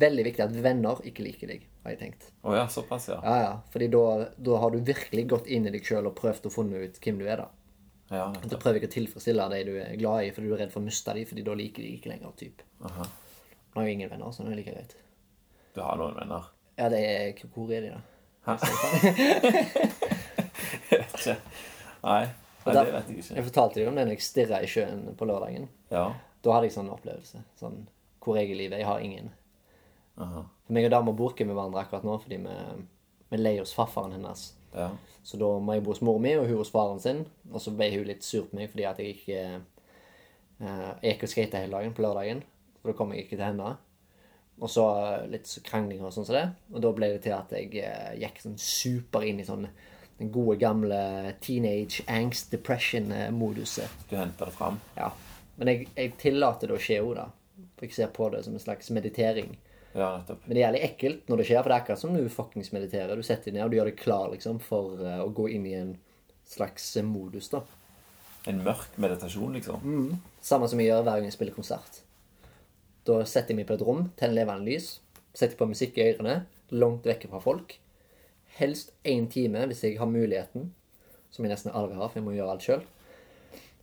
Speaker 2: veldig viktig at venner ikke liker deg, har jeg tenkt.
Speaker 1: Å ja, såpass, ja.
Speaker 2: Ja, ja, fordi da, da har du virkelig gått inn i deg sjøl og prøvd å funne ut hvem du er, da.
Speaker 1: Ja,
Speaker 2: At du prøver ikke å tilfredsstille de du er glad i, fordi du er redd for å miste de, fordi da liker de ikke lenger, typ.
Speaker 1: Aha.
Speaker 2: Nå har jeg jo ingen venner, så det er like greit.
Speaker 1: du har noen venner.
Speaker 2: Ja, det er, hvor er de, da?
Speaker 1: Hæ?
Speaker 2: [laughs]
Speaker 1: Jeg vet ikke. Nei, nei, det vet jeg ikke.
Speaker 2: Jeg fortalte deg om det når jeg stirra i sjøen på lørdagen.
Speaker 1: Ja.
Speaker 2: Da hadde jeg sånn opplevelse. Sånn, hvor jeg er i livet. Jeg har ingen.
Speaker 1: Aha.
Speaker 2: For meg og dama bor ikke med hverandre akkurat nå fordi vi, vi leier hos farfaren hennes.
Speaker 1: Ja.
Speaker 2: Så da må jeg bo hos mor mi og hun hos faren sin. Og så ble hun litt sur på meg fordi at jeg ikke eh, Jeg gikk og skata hele dagen på lørdagen. Så da kom jeg ikke til henne. Og så eh, litt så krangling og sånn som det. Og da ble det til at jeg eh, gikk sånn super inn i sånn den gode gamle teenage angst eh, depression-moduset.
Speaker 1: Du henter det fram.
Speaker 2: Ja. Men jeg, jeg tillater det å skje òg, da. For jeg ser på det som en slags meditering.
Speaker 1: Ja, nettopp.
Speaker 2: Men det er jævlig ekkelt når det skjer, for det er akkurat som du fuckings mediterer. Du setter deg ned og du gjør deg klar liksom, for eh, å gå inn i en slags eh, modus. da.
Speaker 1: En mørk meditasjon, liksom.
Speaker 2: Mm. Samme som jeg gjør hver gang jeg spiller konsert. Da setter jeg meg på et rom, tenner levende lys, setter på musikk i ørene, langt vekk fra folk. Helst én time, hvis jeg har muligheten, som jeg nesten aldri har, for jeg må gjøre alt sjøl.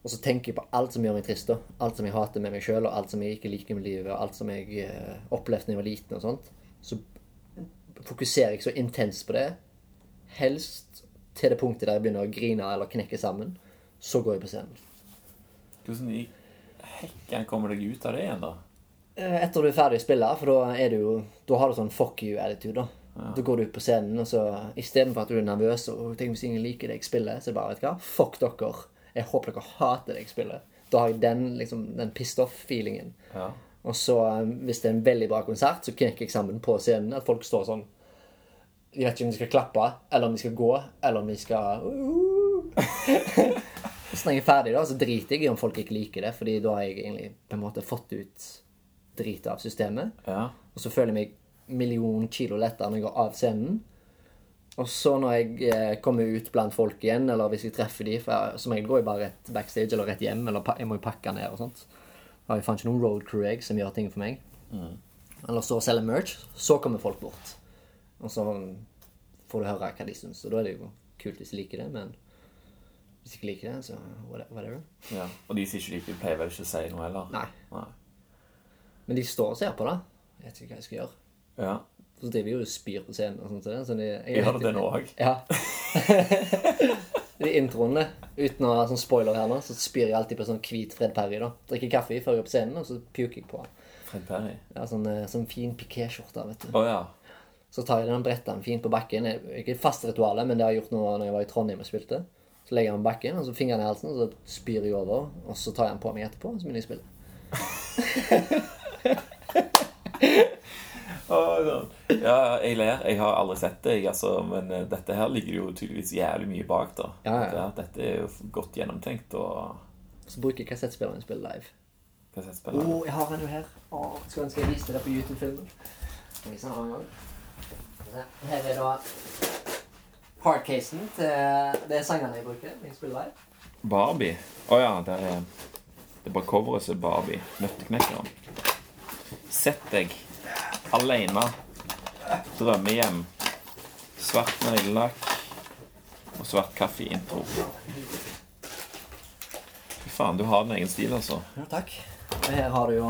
Speaker 2: Og så tenker jeg på alt som gjør meg trist, da. alt som jeg hater med meg sjøl, og alt som jeg ikke liker med livet, og alt som jeg eh, opplevde da jeg var liten og sånt. Så fokuserer jeg så intenst på det, helst til det punktet der jeg begynner å grine eller knekke sammen. Så går jeg på scenen.
Speaker 1: Hvordan i hekken kommer deg ut av det igjen, da?
Speaker 2: Eh, Etter du er ferdig å spille, for da er du jo Da har du sånn fuck you-attitude, da. Da går du ut på scenen, og så istedenfor at du er nervøs og tenker hvis ingen liker det jeg spiller, så er det bare vet du hva, fuck dere. Jeg håper dere hater det jeg spiller. Da har jeg den liksom, den pissed off-feelingen.
Speaker 1: Ja.
Speaker 2: Og så, eh, hvis det er en veldig bra konsert, så knekker jeg sammen på scenen. At folk står sånn De vet ikke om de skal klappe, eller om de skal gå, eller om de skal Hvis jeg er ferdig, da, så driter jeg i om folk ikke liker det, fordi da har jeg egentlig på en måte fått ut dritet av systemet.
Speaker 1: ja.
Speaker 2: Og så føler jeg meg million kilo lettere når jeg går av scenen. Og så når jeg eh, kommer ut blant folk igjen, eller hvis jeg treffer de, for jeg, så må jeg gå i bare rett backstage eller rett hjem, eller pa jeg må jo pakke ned og sånt. Og jeg fant ikke noen road crew jeg som gjør ting for meg. Eller så selger merch. Så kommer folk bort. Og så får du høre hva de syns. Og da er det jo kult hvis de liker det, men hvis de ikke liker det, så what- whatever.
Speaker 1: Ja. Og de som ikke liker det, pleier vel ikke å si noe heller?
Speaker 2: Nei. Men de står og ser på det. Jeg vet ikke hva jeg skal gjøre.
Speaker 1: Ja.
Speaker 2: Så driver jeg jo og spyr på scenen og sånt. til det, Så de,
Speaker 1: Jeg gjør det nå òg.
Speaker 2: Ja. [laughs] De introene, uten å ha sånn spoiler her nå, så spyr jeg alltid på sånn hvit Fred Perry. da. Drikker kaffe før jeg er på scenen, og så puker jeg på. den.
Speaker 1: Fred Perry.
Speaker 2: Ja, sånn, eh, sånn fin pikéskjorte, vet du.
Speaker 1: Å ja.
Speaker 2: Så tar jeg den bretteren fint på bakken. Jeg- Ikke fast ritualet, men det har jeg gjort nå når jeg var i Trondheim og spilte. Så legger jeg den på bakken, og så fingeren i halsen, og så spyr jeg over. Og så tar jeg den på meg etterpå, og så begynner jeg å spille.
Speaker 1: Å, sånn. ja. Jeg ler. Jeg har aldri sett det, jeg, altså. Men eh, dette her ligger jo tydeligvis jævlig mye bak, da.
Speaker 2: Ja, ja.
Speaker 1: Dette her- Dette er jo godt gjennomtenkt og
Speaker 2: Så bruker jeg kassettspilleren og spiller live. Å,
Speaker 1: kassettspiller.
Speaker 2: jeg har den jo her. Åh, skulle ønske jeg viste det på YouTube-filmen. Skal vi se her en gang. Skal vi se. Her er da hardcasen til Det er sangene jeg bruker. når Jeg spiller live.
Speaker 1: Barbie. Å ja, der er Det er bare coveret som er Barbie. Nøtteknekkeren. Sett deg aleine. Drømmehjem. Svart neglelakk og svart kaffe i intro. Fy faen, du har din egen stil, altså.
Speaker 2: Ja, takk. Og her har du jo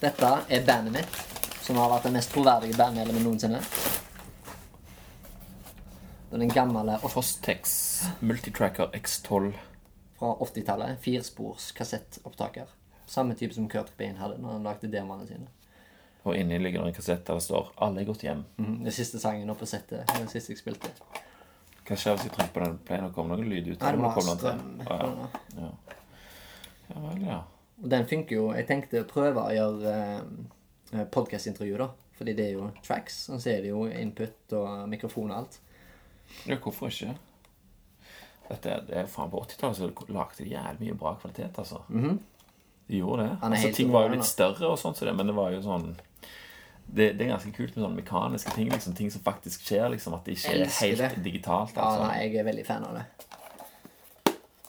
Speaker 2: Dette er bandet mitt, som har vært det mest troverdige bandmedlemmet noensinne. Det er Den gamle off-
Speaker 1: Fostex Multitracker X12.
Speaker 2: fra 80-tallet. Firespors kassettopptaker. Samme type som Kurt Cobain hadde når han lagde demoene sine.
Speaker 1: Og inni ligger det en kassett der det står 'Alle er gått hjem'.
Speaker 2: Mhm, Den siste sangen oppe på settet. Den siste jeg spilte.
Speaker 1: Hva skjer hvis jeg trykker på den? Pleier det å komme noe lyd ut?
Speaker 2: Nei, det må
Speaker 1: Eller
Speaker 2: ha
Speaker 1: kommer den
Speaker 2: strøm.
Speaker 1: til? Å, ja. Ja. ja vel, ja.
Speaker 2: Og den funker jo. Jeg tenkte å prøve å gjøre eh, podkastintervju, da. Fordi det er jo tracks. Og så er det jo input og mikrofon og alt.
Speaker 1: Ja, hvorfor ikke? Dette, er- det er faen På 80-tallet så lagde de jævlig mye bra kvalitet, altså. De gjorde det.
Speaker 2: Mhm. Han er
Speaker 1: Altså,
Speaker 2: helt
Speaker 1: ting var jo
Speaker 2: rå,
Speaker 1: litt større, og sånt, så det, men det var jo sånn det, det er ganske kult med sånne mekaniske ting. liksom Ting som faktisk skjer. liksom At det ikke
Speaker 2: Jeg
Speaker 1: er
Speaker 2: elsker
Speaker 1: helt
Speaker 2: det.
Speaker 1: digitalt.
Speaker 2: Ja,
Speaker 1: altså
Speaker 2: nei, jeg er veldig fan av det.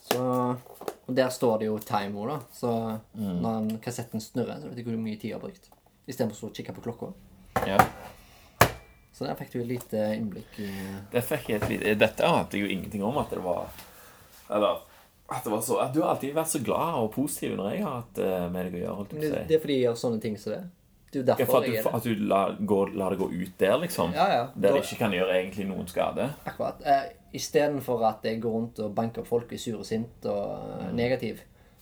Speaker 2: Så Og der står det jo timer, da. Så når den kassetten snurrer, så vet du hvor mye tid jeg har brukt. Istedenfor å stå og kikke på klokka.
Speaker 1: ja.
Speaker 2: Så der fikk du et lite innblikk i
Speaker 1: Det fikk jeg et lite eh, Dette ante jeg jo ingenting om at det var Eller at det var så at Du har alltid vært så glad og positiv når jeg har hatt eh, med deg å gjøre. holdt jeg på
Speaker 2: det,
Speaker 1: å si.
Speaker 2: det er fordi jeg gjør sånne ting som det. Det er jo
Speaker 1: Ja, for
Speaker 2: derfor
Speaker 1: at
Speaker 2: jeg
Speaker 1: du,
Speaker 2: er det.
Speaker 1: at du la, går, lar det gå ut der, liksom.
Speaker 2: Ja, ja.
Speaker 1: Der
Speaker 2: Da-
Speaker 1: det ikke kan gjøre egentlig noen skade.
Speaker 2: Akkurat. Eh, Istedenfor at jeg går rundt og banker opp folk i sur og sint og eh, negativ,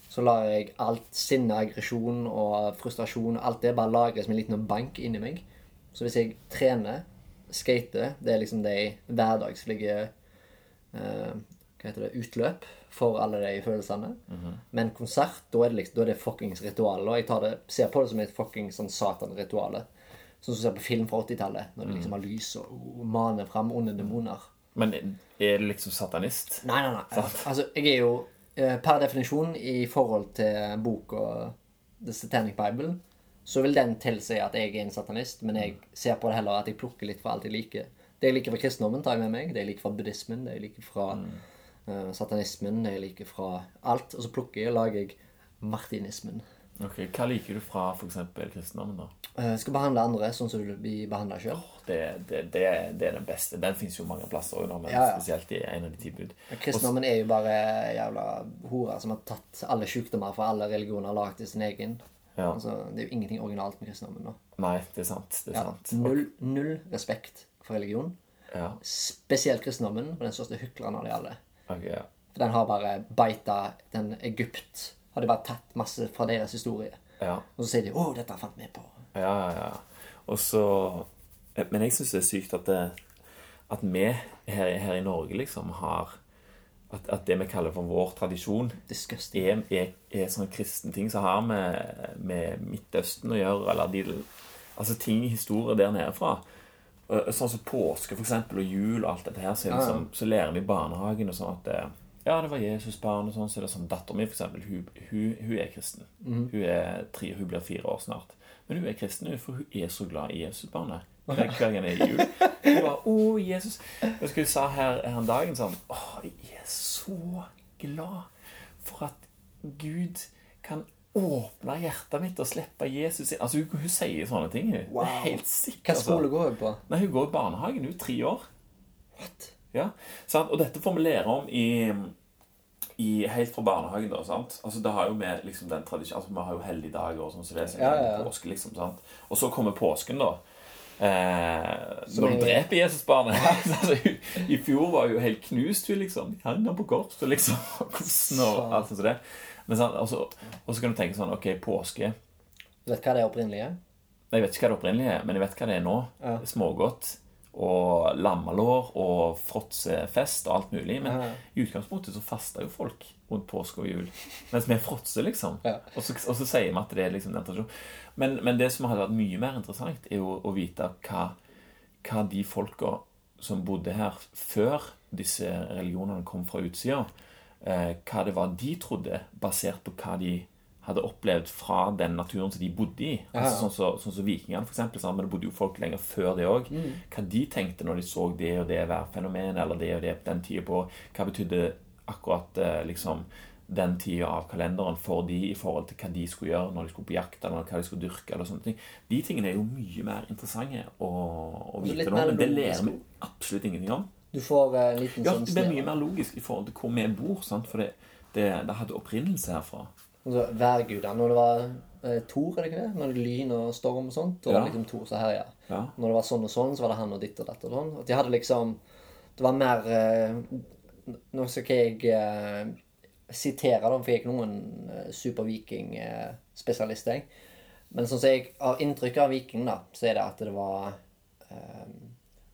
Speaker 2: så lar jeg alt sinne, aggresjon og frustrasjon alt det bare lagres med en liten bank inni meg. Så hvis jeg trener, skater, det er liksom de hverdagslige eh, hva heter det, utløp for alle de følelsene. Men konsert, da er det liksom, da er det fuckings ritual. Og jeg tar det, ser på det som et fuckings sånn satan-ritual. Sånn som du ser på film fra 80-tallet, når de liksom har lys og og maner fram onde demoner.
Speaker 1: Men er du liksom satanist?
Speaker 2: Nei, nei, nei. Altså, jeg er jo eh, per definisjon i forhold til boka The Satanic Bible, så vil den tilsi at jeg er en satanist, men jeg ser på det heller at jeg plukker litt fra alt jeg liker. Det jeg liker fra kristendommen, tar jeg med meg. Det jeg liker fra buddhismen, det jeg liker fra eh, satanismen, det jeg liker fra alt. Og så plukker jeg og lager jeg martinismen.
Speaker 1: Ok, Hva liker du fra f.eks. kristendommen, da?
Speaker 2: Eh, skal behandle andre sånn som du blir behandla sjøl.
Speaker 1: Det, det, det, det er den beste. Den fins jo mange plasser òg, men
Speaker 2: Ja, ja.
Speaker 1: spesielt i en av de tilbud.
Speaker 2: Kristendommen er jo bare jævla horer som har tatt alle sykdommer fra alle religioner og lagd til sin egen.
Speaker 1: Ja.
Speaker 2: Altså, det er jo ingenting originalt med kristendommen nå.
Speaker 1: Nei, det er sant. Det er sant.
Speaker 2: Null, null respekt for religion.
Speaker 1: Ja.
Speaker 2: Spesielt kristendommen, og den største hykleren av de alle.
Speaker 1: ok, ja.
Speaker 2: For den har bare beita den Egypt. Hadde bare tatt masse fra deres historie.
Speaker 1: Ja.
Speaker 2: Og så sier de 'Å, dette fant vi på'.
Speaker 1: Ja, ja, ja. Og så eh, Men jeg syns det er sykt at, det, at vi her, her i Norge liksom har at, at det vi kaller for vår tradisjon,
Speaker 2: Disgusting.
Speaker 1: er, er, er sånne kristne sånn ting som har med, med Midtøsten å gjøre, eller de, altså ting i historier der nede fra. Eh, Sånn som påske for eksempel, og jul og alt dette her, så, er det liksom, så lærer vi i barnehagen og sånn at eh, ja, det var Jesus barn og sånn, så er det sånn datteren min for eksempel, hun, hun, hun er kristen. Hun er tre, hun blir fire år snart. Men hun er kristen, hun, for hun er så glad i Jesus barnet. Hver hver gang det er jul. Hun bare, å, Jesus. Jeg husker hun sa her her en dagen sånn, å, jeg er så glad for at Gud kan åpne hjertet mitt og slippe Jesus inn. Altså, hun, hun sier sånne ting. Hun.
Speaker 2: Wow.
Speaker 1: Det er helt sikkert. altså.
Speaker 2: Hva skole går hun på?
Speaker 1: Nei, hun går i barnehagen. Hun er tre år. Ja, sant? Og dette får vi lære om i, i helt fra barnehagen. da, sant? Altså, det har jo med liksom, den tradisjonen, altså, Vi har jo helligdager og sånn, så det er sånn
Speaker 2: Ja, ja, ja.
Speaker 1: påske, liksom. sant? Og så kommer påsken, da. Eh,
Speaker 2: Som
Speaker 1: når
Speaker 2: er-
Speaker 1: du dreper Jesusbarnet. [laughs] altså, hun- I fjor var hun jo helt knust, hun liksom. Hang han på korset, liksom. [laughs] og Kosten og alt sånt som det. Men, sant? Og, så, og så kan du tenke sånn OK, påske.
Speaker 2: Vet du hva det opprinnelige er?
Speaker 1: Jeg vet ikke hva det opprinnelige er, men jeg vet hva det er nå.
Speaker 2: Ja.
Speaker 1: Smågodt og lammelår og fråtsefest og alt mulig. Men
Speaker 2: Ja.
Speaker 1: i utgangspunktet så faster jo folk rundt påske og jul. Mens vi fråtser, liksom.
Speaker 2: Ja.
Speaker 1: Og, så, og så sier vi at det er liksom den tradisjonen. Men, men det som hadde vært mye mer interessant, er jo å vite hva, hva de folka som bodde her før disse religionene kom fra utsida, eh, hva det var de trodde, basert på hva de hadde opplevd fra den naturen som de bodde i. Altså, sånn som sånn som vikingene, for eksempel. sant? Men det bodde jo folk lenger før det òg.
Speaker 2: Mm.
Speaker 1: Hva de tenkte når de så det og det værfenomenet, eller det og det på den tida på Hva betydde akkurat eh, liksom den tida av kalenderen for de i forhold til hva de skulle gjøre når de skulle på jakt, eller hva de skulle dyrke, eller sånne ting. De tingene er jo mye mer interessante å, å
Speaker 2: så Altså litt
Speaker 1: vite nå,
Speaker 2: mer
Speaker 1: men det
Speaker 2: logisk.
Speaker 1: lærer vi absolutt ingenting om.
Speaker 2: Du får eh, en liten
Speaker 1: Ja,
Speaker 2: sånn
Speaker 1: det blir mye mer logisk i forhold til hvor vi bor, sant? for det, det, det hadde opprinnelse herfra.
Speaker 2: Altså, Værgudene. Når det var eh, Thor, er det ikke det? Når det var lyn og storm og sånt. Og
Speaker 1: Ja.
Speaker 2: liksom Thor som herja.
Speaker 1: Ja.
Speaker 2: Når det var sånn og sånn, så var det han og ditt og datt og sånn. At de hadde liksom Det var mer eh, Nå skal ikke jeg eh, sitere dem, for jeg er ikke noen eh, superviking-spesialist, jeg. Men sånn som jeg har inntrykk av viking, da, så er det at det var eh,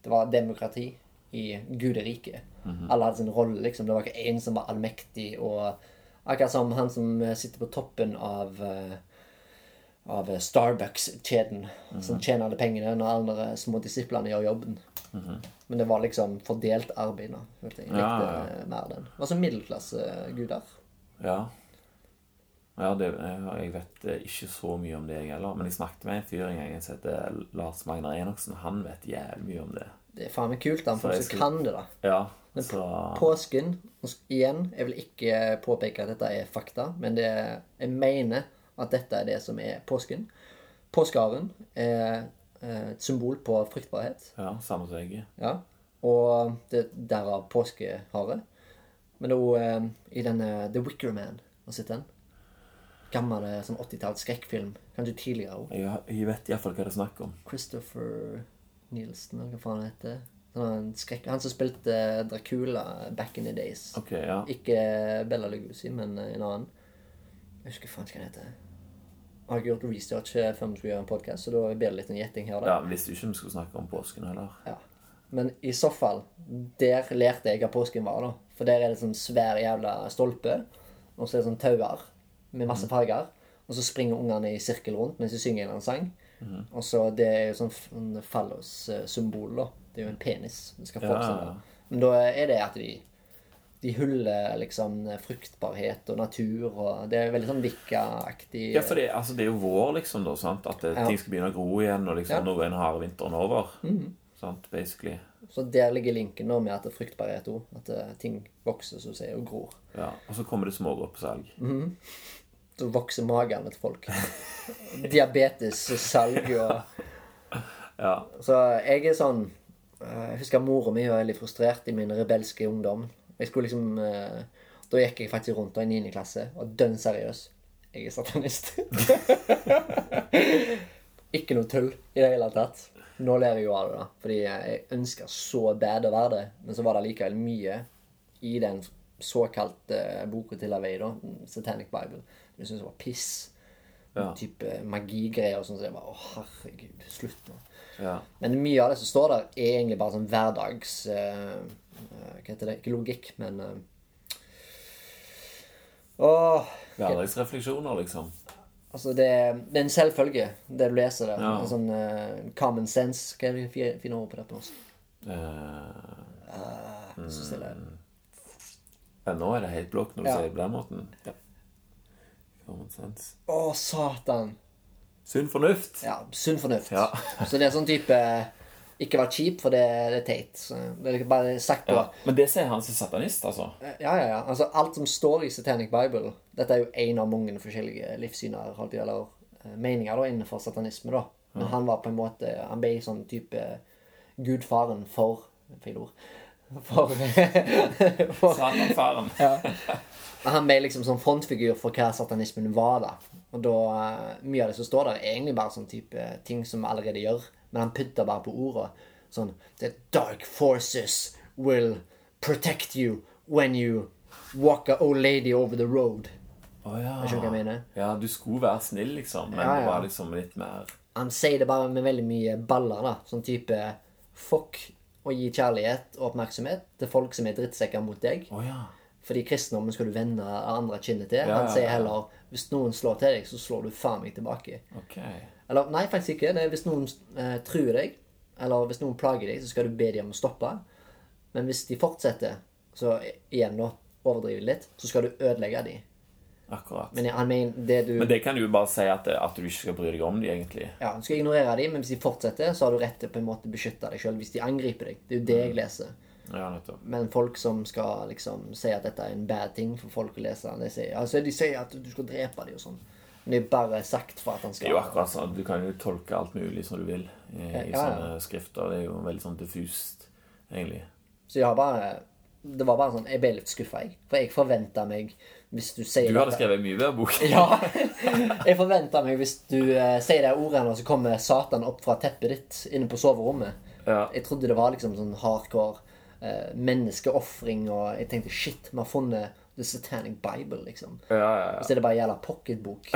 Speaker 2: Det var demokrati i guderiket. Alle hadde sin rolle, liksom. Det var ikke én som var allmektig og Akkurat som han som eh, sitter på toppen av eh, av eh, Starbucks-kjeden, som tjener alle pengene når andre små disiplene gjør jobben. Men det var liksom fordelt arbeid. da, vet Jeg Jeg likte
Speaker 1: Ja, ja,
Speaker 2: eh, mer den. Det var som middelklasseguder.
Speaker 1: Ja, ja det, jeg jeg vet eh, ikke så mye om det jeg heller, men jeg snakket med en fyr en gang som heter Lars Magnar Enoksen, han vet jævlig mye om det.
Speaker 2: Det er faen meg kult, da, for
Speaker 1: jeg
Speaker 2: så
Speaker 1: skulle-
Speaker 2: kan det, da.
Speaker 1: Ja, så...
Speaker 2: Påsken og s- Igjen, jeg vil ikke påpeke at dette er fakta, men det er, jeg mener at dette er det som er påsken. Påskeharen er eh, et symbol på fruktbarhet.
Speaker 1: Ja, samme som jeg.
Speaker 2: Ja, og det derav påskehare. Men det er også eh, i denne The Wicker Man, har du sett den? Gammel eh, sånn 80-talls skrekkfilm. Kanskje tidligere også.
Speaker 1: Jeg, jeg vet i hvert fall hva det er snakk om.
Speaker 2: Christopher Nielsen, eller hva faen han heter. Han, er en skrekk, han som spilte eh, Dracula back in the days.
Speaker 1: Ok, ja.
Speaker 2: Ikke Bella Lugosi, men eh, en annen. Jeg husker faen ikke hva han heter. Jeg har ikke gjort research eh, før vi skulle gjøre en podcast, så da blir det litt en gjetting her. da.
Speaker 1: Ja, men visste jo ikke om vi skulle snakke om påsken heller.
Speaker 2: Ja. Men i så fall, der lærte jeg hva påsken var, da. For der er det sånn svær jævla stolpe, og så er det sånn tauer med masse
Speaker 1: Mhm.
Speaker 2: farger. Og så springer ungene i sirkel rundt mens de synger en eller annen sang.
Speaker 1: Mhm.
Speaker 2: Og så det er jo sånn f- en fallos-symbol, da. Det er jo en penis. Det skal fortsette.
Speaker 1: ja.
Speaker 2: Men da er det at de de huller liksom fruktbarhet og natur og Det er veldig sånn Vikka-aktig.
Speaker 1: Ja, for det, altså, det er jo vår, liksom, da, sant? At eh,
Speaker 2: Ja.
Speaker 1: ting skal begynne å gro igjen, og liksom,
Speaker 2: Ja. Mhm.
Speaker 1: nå er den harde vinteren over. Sant, basically.
Speaker 2: Så der ligger linken nå med at det er fruktbarhet òg. At eh, ting vokser, som du sier, og gror.
Speaker 1: Ja, og så kommer det smågodt på salg.
Speaker 2: Mhm. så vokser magene til folk. Diabetes og salg og
Speaker 1: Ja.
Speaker 2: Så jeg er sånn eh, Jeg husker mora mi var veldig frustrert i min rebelske ungdom. Jeg skulle liksom eh, Da gikk jeg faktisk rundt da i 9. klasse og dønn seriøs. Jeg er satanist. [laughs] Ikke noe tull i det hele tatt. Nå ler jeg jo av det, da. Fordi jeg ønsker så bad å være det. Men så var det likevel mye i den såkalte eh, boka til Lavey, da. Satanic Bible. Jeg syntes det var piss.
Speaker 1: Ja.
Speaker 2: Type magigreier og sånn. Så jeg bare Å, herregud. Slutt nå.
Speaker 1: ja.
Speaker 2: Men mye av det som står der, er egentlig bare sånn hverdags eh, eh, Hva heter det? Ikke logikk, men eh, Åh
Speaker 1: Hverdagsrefleksjoner, liksom.
Speaker 2: Altså, det, det er en selvfølge, det du leser der.
Speaker 1: Ja.
Speaker 2: En sånn eh, common sense. Hva er det fi- fine ordet på det på norsk?
Speaker 1: Eh,
Speaker 2: Eh,
Speaker 1: Mm.
Speaker 2: jeg synes det er-
Speaker 1: men nå er det helt blokk når du
Speaker 2: Ja.
Speaker 1: sier det på den måten. Ja. Common sense.
Speaker 2: Å, satan!
Speaker 1: Sunn fornuft!
Speaker 2: Ja, sunn fornuft.
Speaker 1: Ja.
Speaker 2: så det er sånn type Ikke vær kjip, for det, det er teit. Så det er bare sagt på.
Speaker 1: Ja. Men det sier han som satanist, altså.
Speaker 2: Ja, ja, ja. Altså, alt som står i Satanic Bible Dette er jo en av mange forskjellige livssyner holdt jeg, eller eh, meninger da, innenfor satanisme. da. Men han var på en måte Han ble sånn type gudfaren for Feil ord. For, [laughs] for
Speaker 1: Satanfaren.
Speaker 2: [laughs] Han ble liksom sånn frontfigur for hva satanismen var, da. Og da eh, Mye av det som står der, er egentlig bare sånn type ting som vi allerede gjør, men han putter bare på orda. Sånn The dark forces will protect you when you walk a old lady over the road.
Speaker 1: Å ja.
Speaker 2: skjønner hva jeg mener.
Speaker 1: ja. Du skulle være snill, liksom, men
Speaker 2: Ja, ja.
Speaker 1: det var liksom litt mer
Speaker 2: Han sier det bare med veldig mye baller, da. Sånn type Fuck å gi kjærlighet og oppmerksomhet til folk som er drittsekker mot deg.
Speaker 1: Å ja.
Speaker 2: Fordi kristendommen skal du vende det andre kinnet til.
Speaker 1: ja,
Speaker 2: Han sier
Speaker 1: ja.
Speaker 2: heller hvis noen slår til deg, så slår du faen meg tilbake.
Speaker 1: Ok.
Speaker 2: Eller nei, faktisk ikke. Det er hvis noen eh, truer deg, eller hvis noen plager deg, så skal du be dem om å stoppe. Men hvis de fortsetter, så igjen nå, overdrive litt, så skal du ødelegge dem.
Speaker 1: Akkurat. Men,
Speaker 2: Men han mener det du
Speaker 1: det kan du jo bare si at, at du ikke skal bry deg om de, egentlig.
Speaker 2: Ja, du skal ignorere dem, men hvis de fortsetter, så har du rett til på en måte å beskytte deg sjøl hvis de angriper deg. Det er jo det
Speaker 1: Mm.
Speaker 2: jeg leser.
Speaker 1: Ja, nettopp.
Speaker 2: Men folk som skal liksom si at dette er en bad ting for folk å lese, de sier, altså, de sier at du skal drepe dem og sånn. Men det er bare sagt for at han
Speaker 1: Det
Speaker 2: skal
Speaker 1: er jo akkurat sånn, Du kan jo tolke alt mulig som du vil i, i
Speaker 2: Ja, ja.
Speaker 1: sånne skrifter. Det er jo veldig sånn diffust, egentlig.
Speaker 2: Så jeg har bare Det var bare sånn Jeg ble litt skuffa, jeg. For jeg forventa meg Hvis du sier
Speaker 1: Du hadde
Speaker 2: dette-
Speaker 1: skrevet mye bedre bok.
Speaker 2: Ja. [laughs] Jeg forventa meg hvis du eh, sier de ordene, og så kommer Satan opp fra teppet ditt inne på soverommet.
Speaker 1: Ja.
Speaker 2: Jeg trodde det var liksom sånn hardcore eh, menneskeofring, og jeg tenkte shit, vi har funnet The Satanic Bible, liksom.
Speaker 1: Ja, ja,
Speaker 2: Og
Speaker 1: ja.
Speaker 2: så er det bare en jævla pocketbok.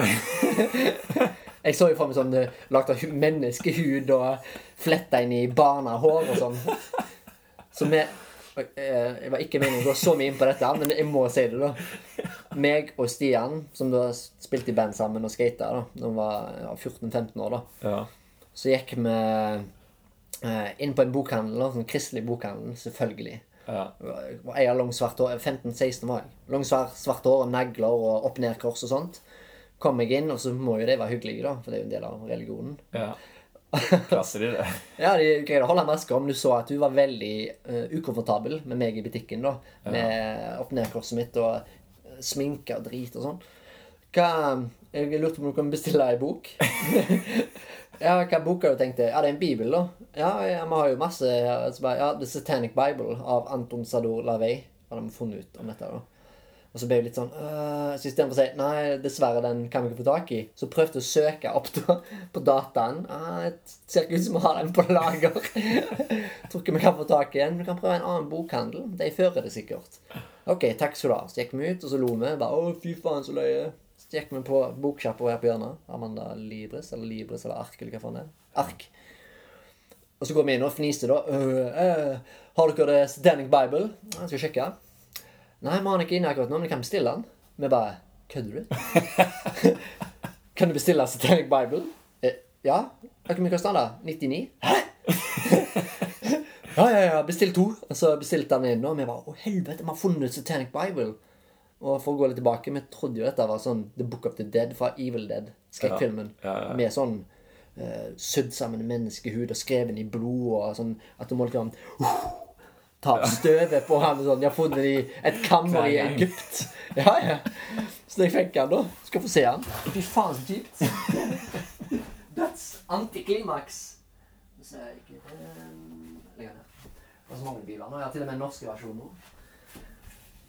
Speaker 2: [laughs] Jeg så jo for meg sånn eh, lagt av hu- menneskehud og fletta inn i barnehår og sånn. Så vi eh, Jeg var ikke meningen å gå så mye inn på dette, men jeg må si det, da. Meg og Stian, som da spilte i band sammen og skata da da vi var ja, 14-15 år, da
Speaker 1: ja.
Speaker 2: så gikk vi eh, inn på en bokhandel, da, sånn kristelig bokhandel, selvfølgelig.
Speaker 1: Ja.
Speaker 2: Jeg har lang svart hår, 15-16 var jeg. Lang svart, svart hår og negler og opp ned kors og sånt. Kom jeg inn, og så må jo de være hyggelige, da, for det er jo en del av religionen.
Speaker 1: ja. Klarte de det?
Speaker 2: Ja, de greide å holde maska om du så at du var veldig eh, ukomfortabel med meg i butikken, da. Med opp ned korset mitt og eh, sminke og drit og sånn. Hva Jeg lurte på om du kan bestille ei bok. ja, hva bok har du tenkt deg? Ja, det er en bibel, da. Ja, ja, vi har jo masse her. Så bare, ja, The Satanic Bible av Anton Sador Lavey. Hadde vi funnet ut om dette, da. Og så ble jeg litt sånn øh, Så istedenfor å si nei, dessverre, den kan vi ikke få tak i, så prøvde jeg å søke opp da, på dataen. Ah, det ser ikke ut som vi har den på lager. [laughs] Tror ikke vi kan få tak i den. Vi kan prøve en annen bokhandel. De fører det sikkert. OK, takk skal du ha. Så gikk vi ut, og så lo vi. Bare, å, fy faen, så løye. Så gikk vi på boksjappa her på hjørnet. Amanda Libris, eller Libris, eller Ark, eller hva faen det er. Ark. Og så går vi inn og fniser, da. «Øh, øh, har dere det Standing Bible? Jeg skal sjekke. Nei, vi har den ikke inne akkurat nå, men kan bestille den. Vi bare Kødder du? kan du bestille Satanic Bible? Eh, ja. Hvor mye koster den, da? 99? Hæ? ja, ja, ja. Bestill to. Og så bestilte han inn, og vi bare Å, helvete, vi har funnet Satanic Bible. Og for å gå litt tilbake, vi trodde jo dette var sånn The Book of the Dead fra Evil Dead, skrekkfilmen.
Speaker 1: Ja, ja, ja.
Speaker 2: Med sånn eh, sydd sammen menneskehud og skreven i blod og sånn at du må liksom ta opp støvet på han og sånn. Jeg har funnet i et kammer
Speaker 1: Hver
Speaker 2: i
Speaker 1: gang.
Speaker 2: Egypt. [laughs] Ja, ja. Så jeg fikk han, da. Skal få se han. Fy faen, så kjipt. [laughs] That's antiklimaks. Så jeg ikke den Legger den her. Det var så mange biler nå. Jeg har til og med norske versjoner.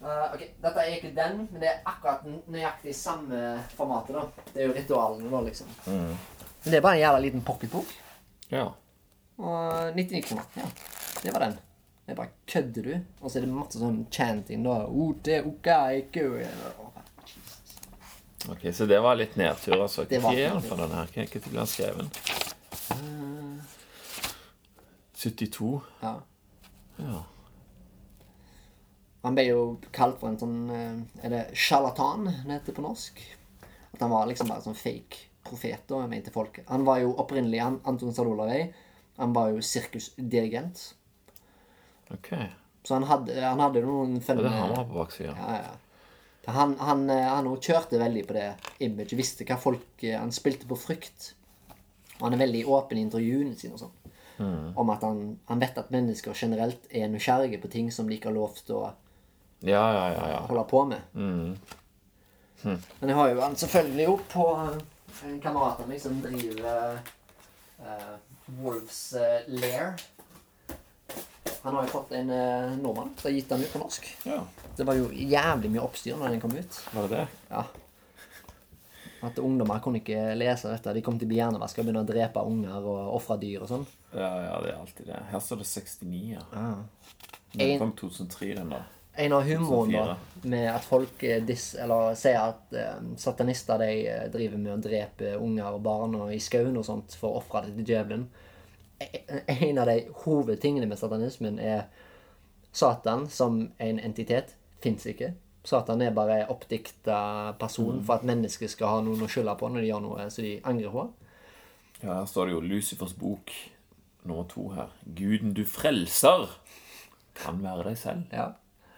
Speaker 2: Eh, ok, Dette er ikke den, men det er akkurat n- nøyaktig samme formatet. da. Det er jo ritualene, da, liksom. Men det er bare en jævla liten pocketbok.
Speaker 1: Ja.
Speaker 2: Og 99 kroner. Ja, det var den. Jeg bare kødder du? Og så er det masse sånn chanting da. Ote, oka, iku.
Speaker 1: Ok, Så det var litt nedtur, altså.
Speaker 2: Det
Speaker 1: Når
Speaker 2: var
Speaker 1: er den
Speaker 2: nedtur.
Speaker 1: for den her? Hva- Når ble den skrevet?
Speaker 2: Eh.
Speaker 1: 72?
Speaker 2: Ja.
Speaker 1: Ja.
Speaker 2: Han ble jo kalt for en sånn eh, Er det sjarlatan det heter på norsk? At han var liksom bare sånn fake profet, da, mente folk. Han var jo opprinnelig han, Anton Sadolavei. Han var jo sirkusdirigent.
Speaker 1: Ok. Ja,
Speaker 2: Så han hadde, han hadde noen
Speaker 1: det
Speaker 2: fenomener.
Speaker 1: har vi her på baksida.
Speaker 2: Ja, ja. Han, han, eh, han også kjørte veldig på det imaget, visste hva folk eh, Han spilte på frykt. Og han er veldig åpen i intervjuene sine og sånn.
Speaker 1: Mm.
Speaker 2: Om at han, han vet at mennesker generelt er nysgjerrige på ting som de ikke har lov til å
Speaker 1: Ja, Mm. ja, ja. ja.
Speaker 2: holde på med.
Speaker 1: Hm.
Speaker 2: Men jeg har jo han selvfølgelig opp på eh, en kamerat av meg som driver eh, Wolves eh, Lair. Han har jo fått en eh, nordmann som har gitt han ut på norsk.
Speaker 1: ja.
Speaker 2: Det var jo jævlig mye oppstyr når den kom ut.
Speaker 1: Var det det?
Speaker 2: Ja. At ungdommer kunne ikke lese dette. De kom til å bli hjernevaska og begynne å drepe unger og ofre dyr og sånn.
Speaker 1: Ja, ja, det er alltid det. Her står det 69, ja.
Speaker 2: Ah. En-
Speaker 1: Den kom 2003, den da.
Speaker 2: En av humoren da, med at folk eh, diss, eller, sier at eh, satanister de eh, driver med å drepe unger og barn og i skauen og sånt for å ofre det til djevelen. E- En av de hovedtingene med satanismen er Satan som en entitet fins ikke. Satan er bare en oppdikta person for at mennesker skal ha noen å skylde på når de gjør noe som de angrer på.
Speaker 1: Ja, her står det jo Lucifers bok nummer to her. Guden du frelser kan være deg selv.
Speaker 2: Ja.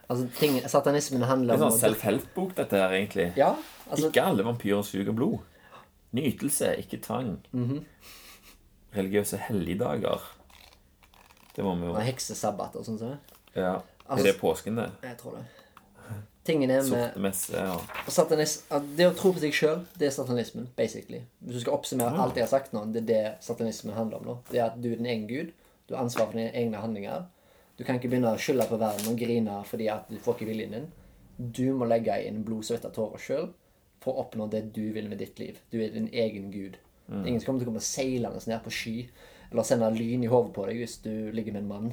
Speaker 2: Altså, ting, satanismen
Speaker 1: Det
Speaker 2: handler
Speaker 1: er
Speaker 2: om
Speaker 1: en sånn self-help-bok, dette her, egentlig.
Speaker 2: Ja, altså,
Speaker 1: Ikke alle vampyrer suger blod. Nytelse, ikke tvang.
Speaker 2: Mhm.
Speaker 1: Religiøse helligdager. Det må vi jo
Speaker 2: heksesabbat og sånn. Så.
Speaker 1: ja. Er
Speaker 2: Altså-
Speaker 1: det påsken, det?
Speaker 2: Jeg
Speaker 1: [laughs]
Speaker 2: tror det. Tingen er med
Speaker 1: Sorte messe ja.
Speaker 2: satanis, at Det å tro på seg sjøl, det er satanismen, basically. Hvis du skal oppsummere alt jeg har sagt nå, det er det satanismen handler om nå. Det er at du er din egen gud. Du har ansvar for dine egne handlinger. Du kan ikke begynne å skylde på verden og grine fordi at du får ikke viljen din. Du må legge inn blod, svette og tårer sjøl for å oppnå det du vil med ditt liv. Du er din egen gud.
Speaker 1: Mm.
Speaker 2: Ingen som kommer til å komme seilende ned på sky eller sende lyn i hodet på deg hvis du ligger med en mann.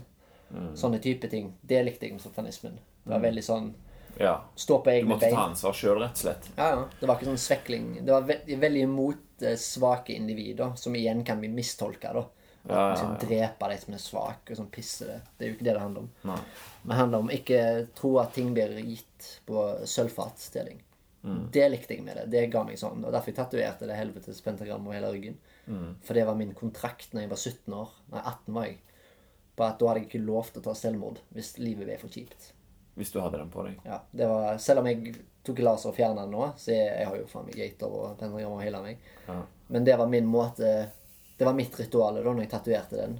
Speaker 1: Mm.
Speaker 2: Sånne type ting. Det likte jeg med satanismen. Det var veldig sånn
Speaker 1: ja.
Speaker 2: Stå
Speaker 1: Mm.
Speaker 2: på
Speaker 1: Du
Speaker 2: egne
Speaker 1: måtte
Speaker 2: bein.
Speaker 1: ta ansvar sjøl, rett og slett.
Speaker 2: Ja, ja. Det var ikke sånn svekling. Det var ve veldig imot eh, svake individer, som igjen kan bli mistolka. da. At
Speaker 1: Ja, ja,
Speaker 2: man skal
Speaker 1: ja.
Speaker 2: Drepe de som er svake, og sånn pisse det. Det er jo ikke det det handler om.
Speaker 1: Nei.
Speaker 2: Det handler om ikke tro at ting blir gitt på sølvfatsdeling.
Speaker 1: Mm.
Speaker 2: Det likte jeg med det. Det ga meg sånn. Og derfor jeg tatoverte det helvetes pentagrammet over hele ryggen.
Speaker 1: Mm.
Speaker 2: For det var min kontrakt når jeg var 17 år. Nei, 18 var jeg. På at da hadde jeg ikke lov til å ta selvmord hvis livet ble for kjipt.
Speaker 1: Hvis du hadde den på deg.
Speaker 2: Ja, det var, selv om jeg tok laser og fjernet den nå, så jeg, jeg har jo faen meg gater og pentagram og hele meg.
Speaker 1: Ja.
Speaker 2: Men det var min måte, det var mitt ritual da når jeg tatuerte den.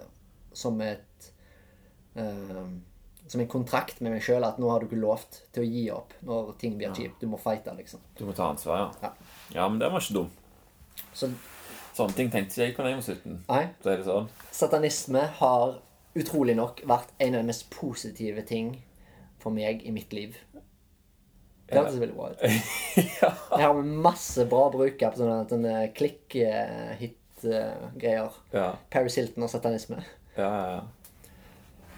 Speaker 2: eh, Som et, eh, som en kontrakt med meg selv, at nå har du ikke lovt til å gi opp når ting blir kjipt. Du må fighte, liksom.
Speaker 1: Du må ta ansvar, ja.
Speaker 2: Ja.
Speaker 1: ja. men den var ikke dum.
Speaker 2: Så
Speaker 1: Sånne ting tenkte ikke jeg på da jeg var 17.
Speaker 2: nei,
Speaker 1: Så er det sånn.
Speaker 2: satanisme har utrolig nok vært en av de mest positive ting for meg i mitt liv. Det hørtes veldig bra ut.
Speaker 1: ja. [laughs]
Speaker 2: Jeg har masse bra bruk av sånne, sånne klikk-hit-greier.
Speaker 1: Ja.
Speaker 2: Paris Hilton og satanisme.
Speaker 1: Ja, ja, ja.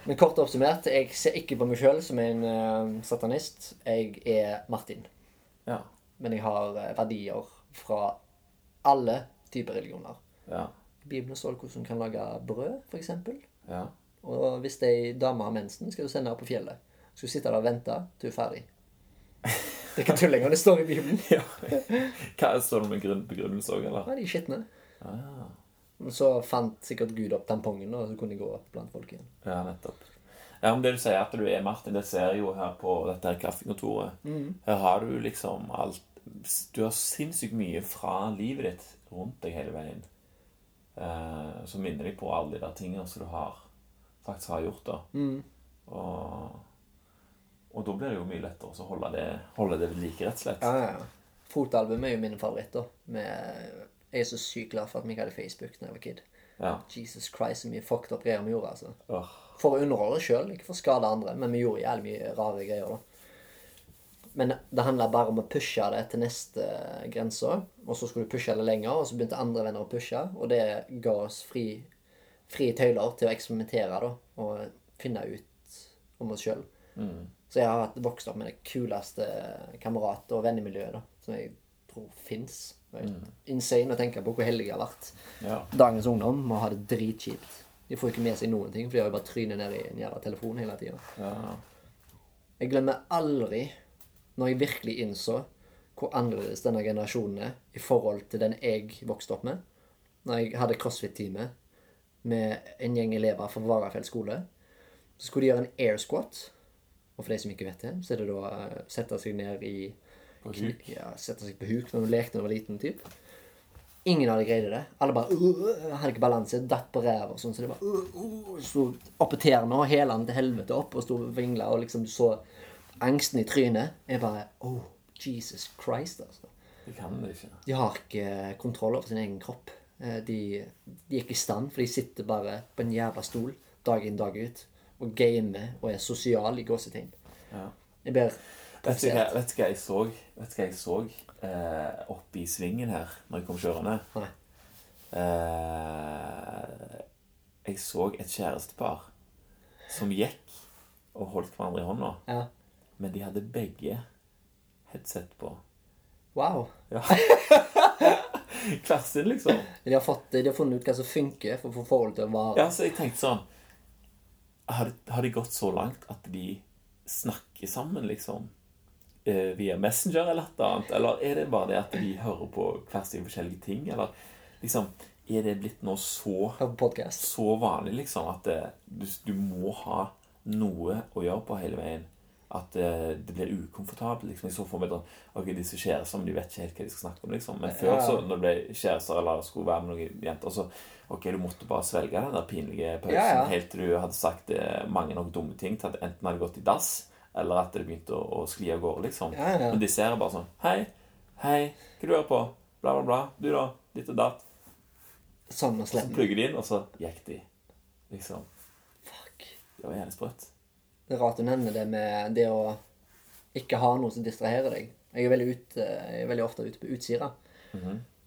Speaker 2: Men kort oppsummert, jeg ser ikke på meg sjøl som en eh, satanist. Jeg er Martin.
Speaker 1: ja.
Speaker 2: Men jeg har eh, verdier fra alle typer religioner.
Speaker 1: ja.
Speaker 2: I Bibelen står det hvordan du kan lage brød, f.eks.
Speaker 1: ja. [laughs]
Speaker 2: Og hvis det er ei dame har mensen, skal du sende henne på fjellet. Skal du sitte der og vente til hun er ferdig. Det er ikke tull lenger. Det står i Bibelen.
Speaker 1: ja. Hva Står det med grunn, begrunnelse òg, eller?
Speaker 2: Ja, de er skitne.
Speaker 1: Ah,
Speaker 2: Men så fant sikkert Gud opp tampongen, og så kunne jeg gå blant folk igjen.
Speaker 1: ja, nettopp. Ja, men Det du sier at du er Martin, det ser jeg jo her på dette her kaffekontoret. Her har du liksom alt Du har sinnssykt mye fra livet ditt rundt deg hele veien. Eh, som minner deg på alle de der tingene som du har faktisk har gjort. da. Og, og da blir det jo mye lettere også å holde det, holde det ved like, rett og slett.
Speaker 2: Ja, ja, ja. Fotalbum er jo min favoritt, da. Med... Jeg er så sykt glad for at vi ikke hadde Facebook da jeg var kid.
Speaker 1: Ja.
Speaker 2: Jesus Christ, så mye fucked up greier vi gjorde, altså.
Speaker 1: Åh.
Speaker 2: For å underholde sjøl, ikke for å skade andre, men vi gjorde jævlig mye rare greier, da. Men det handla bare om å pushe det til neste grense, og så skulle du pushe det lenger, og så begynte andre venner å pushe, og det ga oss fri, frie tøyler til å eksperimentere, da, og finne ut om oss sjøl. Så jeg har hatt- vokst opp med det kuleste kamerat- og vennemiljøet, da, som jeg tror fins. Det er jo Insane å tenke på hvor heldig jeg har vært.
Speaker 1: Ja.
Speaker 2: Dagens ungdom må ha det dritkjipt. De får ikke med seg noen ting, for de har jo bare trynet ned i en jævla telefon hele tida.
Speaker 1: Ja.
Speaker 2: Jeg glemmer aldri når jeg virkelig innså hvor annerledes denne generasjonen er i forhold til den jeg vokste opp med. Når jeg hadde crossfit-time med en gjeng elever fra Varafjell skole, så skulle de gjøre en air squat. Og for de som ikke vet det, så er det da å sette seg ned i
Speaker 1: På huk.
Speaker 2: Ja, sette seg på huk når du lekte da du var liten, typ. Ingen av de greide det. Alle bare øh, hadde ikke balanse, datt på ræva og sånn. Så det bare øh, øh, sto oppe tærne og hæla til helvete opp og sto og vingla og liksom så angsten i trynet. Jeg bare Oh, Jesus Christ, altså.
Speaker 1: Det kan det ikke.
Speaker 2: De har ikke kontroll over sin egen kropp. Eh, De, de er ikke i stand, for de sitter bare på en jævla stol dag inn dag ut og gamer og er sosial i gåsetegn.
Speaker 1: Ja.
Speaker 2: Jeg blir
Speaker 1: Vet du hva,
Speaker 2: provosert.
Speaker 1: vet du hva jeg så, vet du hva jeg så eh, oppe i svingen her når jeg kom kjørende?
Speaker 2: Nei.
Speaker 1: Eh, jeg så et kjærestepar som gikk og holdt hverandre i hånda.
Speaker 2: Ja.
Speaker 1: Men de hadde begge headset på.
Speaker 2: Wow.
Speaker 1: Ja. [laughs] Kversin, liksom.
Speaker 2: De har, fått, de har funnet ut hva som funker for å få forholdet til å vare.
Speaker 1: Ja, så jeg tenkte sånn Har, har de gått så langt at de snakker sammen, liksom? Eh, via Messenger eller et eller annet? Eller er det bare det at de hører på hver sin forskjellige ting? Eller liksom Er det blitt nå så
Speaker 2: Hør på podkast.
Speaker 1: så vanlig liksom at eh, du, du må ha noe å gjøre på hele veien. At eh, det blir ukomfortabelt. liksom. Jeg så for meg sånn, ok, disse kjærestene de vet ikke helt hva de skal snakke om. liksom. Men før,
Speaker 2: Ja.
Speaker 1: så, når det ble kjærester eller skulle være med noen jenter, så ok, du måtte bare svelge den der pinlige pausen
Speaker 2: Ja, ja.
Speaker 1: helt til du hadde sagt eh, mange nok dumme ting til at enten hadde gått i dass, eller at det begynte å, å skli av gårde. liksom.
Speaker 2: Ja, ja.
Speaker 1: Men disse her er bare sånn Hei, hei, hva du hører på? Bla, bla, bla. Du, da? Ditt og datt.
Speaker 2: Sånn og
Speaker 1: Så
Speaker 2: slem.
Speaker 1: plugger de inn, og så gikk de. Liksom.
Speaker 2: Fuck.
Speaker 1: Det var jævlig sprøtt.
Speaker 2: Det er rart du nevner det med det å ikke ha noe som distraherer deg. Jeg er veldig, ute- jeg er veldig ofte ute på Utsira.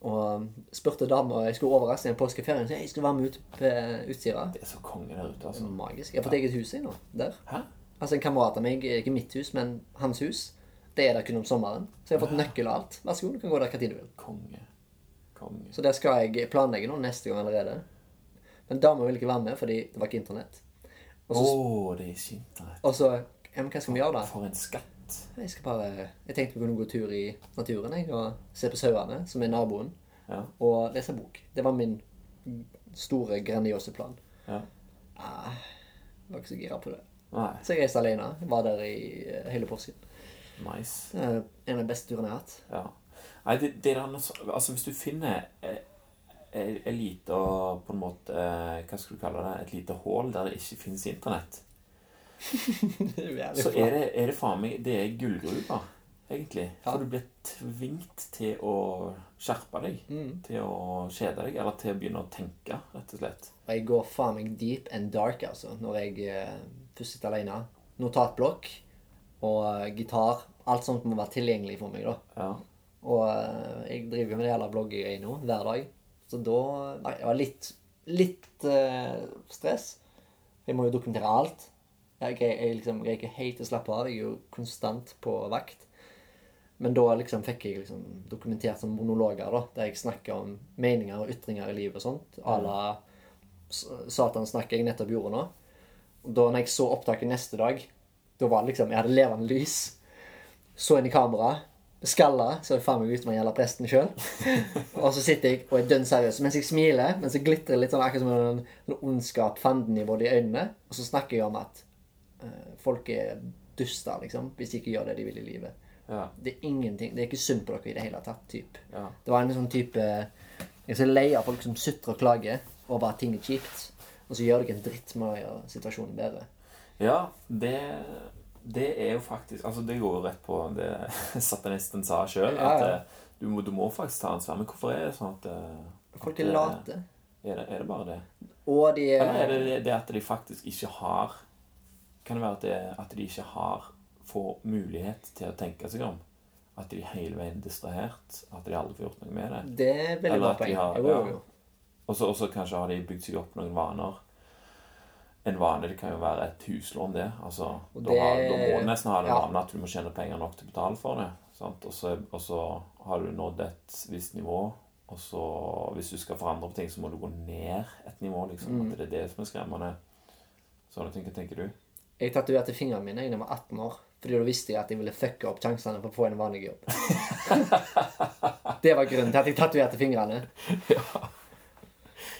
Speaker 2: Og um, spurte dama jeg skulle overraske henne i påskeferien. Så jeg skulle være med ut på Utsira.
Speaker 1: Det er så konge der ute, altså.
Speaker 2: Magisk. Jeg har fått eget hus jeg nå. Der.
Speaker 1: Hæ?
Speaker 2: Altså En kamerat av meg, ikke mitt hus, men hans hus. Det er der kun om sommeren. Så jeg har fått nøkkel og alt. Vær så god, du kan gå der hva tid du vil.
Speaker 1: Konge. Konge.
Speaker 2: Så der skal jeg planlegge nå neste gang allerede. Men dama ville ikke være med fordi det var ikke internett. Og
Speaker 1: Å,
Speaker 2: så,
Speaker 1: det er ikke internett.
Speaker 2: og så ja, men Hva skal vi gjøre da?
Speaker 1: For en skatt.
Speaker 2: Jeg skal bare Jeg tenkte vi kunne gå tur i naturen jeg, og se på sauene, som er naboen,
Speaker 1: Ja.
Speaker 2: og lese bok. Det var min store, grandiose plan.
Speaker 1: ja.
Speaker 2: Ah, jeg var ikke så gira på det.
Speaker 1: Nei.
Speaker 2: Så jeg reiste alene. Var der i eh, hele påsken.
Speaker 1: Nice.
Speaker 2: Det er En av de beste turene jeg har hatt.
Speaker 1: Ja. Nei, det, det er noe så- Altså, hvis du finner eh, eh, en lite og på en måte eh, Hva skal du kalle det? Et lite hull der det ikke finnes internett, så er [laughs] det, er det faen meg Det er gullgruva, egentlig.
Speaker 2: Ja.
Speaker 1: For du blir tvingt til å skjerpe deg. Til å kjede deg, eller til å begynne å tenke, rett og slett.
Speaker 2: Og jeg går faen meg deep and dark, altså, når jeg eh, først sitter alene. Notatblokk og gitar. Alt sånt må være tilgjengelig for meg, da.
Speaker 1: Ja.
Speaker 2: Og eh, jeg driver jo med det jævla bloggegreiene nå, hver dag. Så da Nei, det var litt, litt eh, stress. Jeg må jo dokumentere alt. Jeg, jeg, jeg liksom greier ikke helt å slappe av. Jeg er jo konstant på vakt. Men da liksom fikk jeg liksom dokumentert sånne monologer, da, der jeg snakker om meninger og ytringer i livet og sånt. À la S- Satan snakker jeg nettopp gjorde nå. Og da når jeg så opptaket neste dag, da var det liksom Jeg hadde levende lys. Så inn i kamera. Skalla. Så faen meg ut som han gjelder presten sjøl.
Speaker 1: [laughs]
Speaker 2: Og så sitter jeg og er dønn seriøs mens jeg smiler. Mens jeg glitrer litt sånn akkurat som en, en ondskap, fanden-nivå i øynene. Og så snakker jeg om at eh, folk er duster, liksom, hvis de ikke gjør det de vil i livet.
Speaker 1: Ja.
Speaker 2: Det er ingenting, det er ikke synd på dere i det hele tatt. Typ.
Speaker 1: Ja.
Speaker 2: Det var en sånn type Jeg er så lei av folk som sutrer og klager over at ting er kjipt, og så gjør dere en dritt med å gjøre situasjonen bedre.
Speaker 1: Ja, det, det er jo faktisk Altså, det går jo rett på det [laughs] satanisten sa sjøl.
Speaker 2: Ja,
Speaker 1: At
Speaker 2: ja.
Speaker 1: eh, du, må- du må faktisk ta ansvar. Men hvorfor er det sånn at eh,
Speaker 2: Folk
Speaker 1: at,
Speaker 2: er
Speaker 1: eh,
Speaker 2: late.
Speaker 1: Er det, er det bare det?
Speaker 2: Og de
Speaker 1: Eller er
Speaker 2: er
Speaker 1: det det, det at de faktisk ikke har Kan det være at, det, at de ikke har får mulighet til å tenke seg om? At de hele veien er distrahert? At de aldri får gjort noe med det?
Speaker 2: Det er et veldig
Speaker 1: Eller
Speaker 2: bra
Speaker 1: at de
Speaker 2: poeng.
Speaker 1: har-
Speaker 2: Jo, jo,
Speaker 1: ja.
Speaker 2: jo.
Speaker 1: Og så og så kanskje har de bygd seg opp noen vaner. En vane det kan jo være et huslån, det. Altså,
Speaker 2: Og
Speaker 1: da, har,
Speaker 2: det-
Speaker 1: da må du nesten ha den
Speaker 2: ja.
Speaker 1: vanen at du må tjene penger nok til å betale for det. Sant? Og, så, og så har du nådd et visst nivå, og så hvis du skal forandre på ting, så må du gå ned et nivå. liksom.
Speaker 2: Mm.
Speaker 1: At det er det som er skremmende. Sånne ting, hva
Speaker 2: [laughs]
Speaker 1: tenker du?
Speaker 2: Jeg tatoverte fingrene mine da jeg var 18 år. Fordi da visste jeg at jeg ville fucke opp sjansene for å få en vanlig
Speaker 1: [laughs]
Speaker 2: jobb. det var grunnen til at jeg tatoverte fingrene.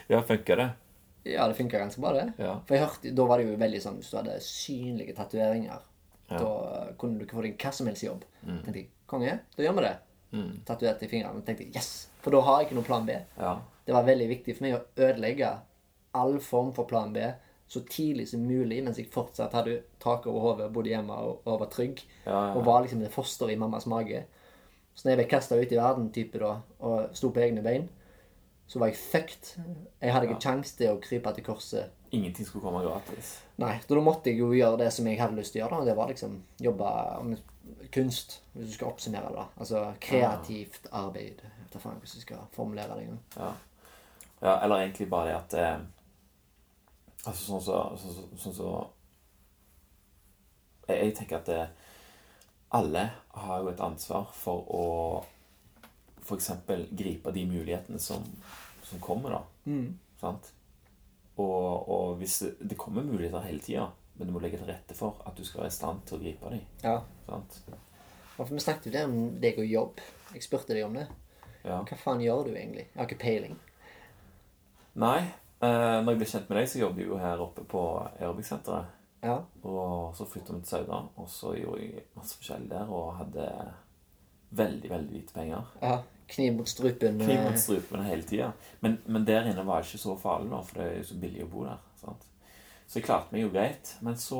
Speaker 1: Ja, funker det?
Speaker 2: Ja, det funka ganske bra, det.
Speaker 1: Ja.
Speaker 2: For jeg hørte, da var det jo veldig sånn hvis du hadde synlige
Speaker 1: Mm.
Speaker 2: tatoveringer, da kunne du ikke få deg hva som helst jobb. Tenkte jeg, konge, da gjør vi det. tatovert i fingrene. Og tenkte yes! For da har jeg ikke noen plan B.
Speaker 1: Ja.
Speaker 2: Det var veldig viktig for meg å ødelegge all form for plan B så tidlig som mulig, mens jeg fortsatt hadde tak over hodet, bodde hjemme og, og var trygg.
Speaker 1: Ja, ja.
Speaker 2: Og var liksom det fosteret i mammas mage. Så når jeg ble kasta ut i verden type da, og sto på egne bein, så var jeg fucked. Jeg hadde ikke kjangs til å krype til korset.
Speaker 1: Ingenting skulle komme gratis.
Speaker 2: Nei, så da måtte jeg jo gjøre det som jeg hadde lyst til å gjøre. da, og Det var liksom jobbe med kunst, hvis du skal oppsummere det. da. Altså kreativt arbeid. Jeg vet da faen hvordan jeg skal formulere det engang.
Speaker 1: Ja. ja eller egentlig bare det at eh, Altså sånn så Sånn så, sånn så jeg, jeg tenker at eh, alle har jo et ansvar for å f.eks. gripe de mulighetene som, som kommer, da. Sant? Og, og hvis det, det kommer muligheter hele tida, men du må legge til rette for at du skal være i stand til å gripe dem.
Speaker 2: Ja.
Speaker 1: Sant?
Speaker 2: Og for Vi snakket jo det om deg og jobb. Jeg spurte deg om det.
Speaker 1: Ja.
Speaker 2: Hva faen gjør du egentlig? Jeg har ikke peiling.
Speaker 1: Nei, eh, når jeg ble kjent med deg, så jobber jeg jo her oppe på aerobic-senteret.
Speaker 2: Ja.
Speaker 1: Og så flytta vi til Sauda, og så gjorde jeg masse forskjellig der og hadde veldig, veldig lite penger.
Speaker 2: ja. Kniv mot strupen. eh,
Speaker 1: Kniv mot strupen hele tida. Men, men der inne var det ikke så farlig, da, for det er jo så billig å bo der. sant? Så jeg klarte meg jo greit. Men så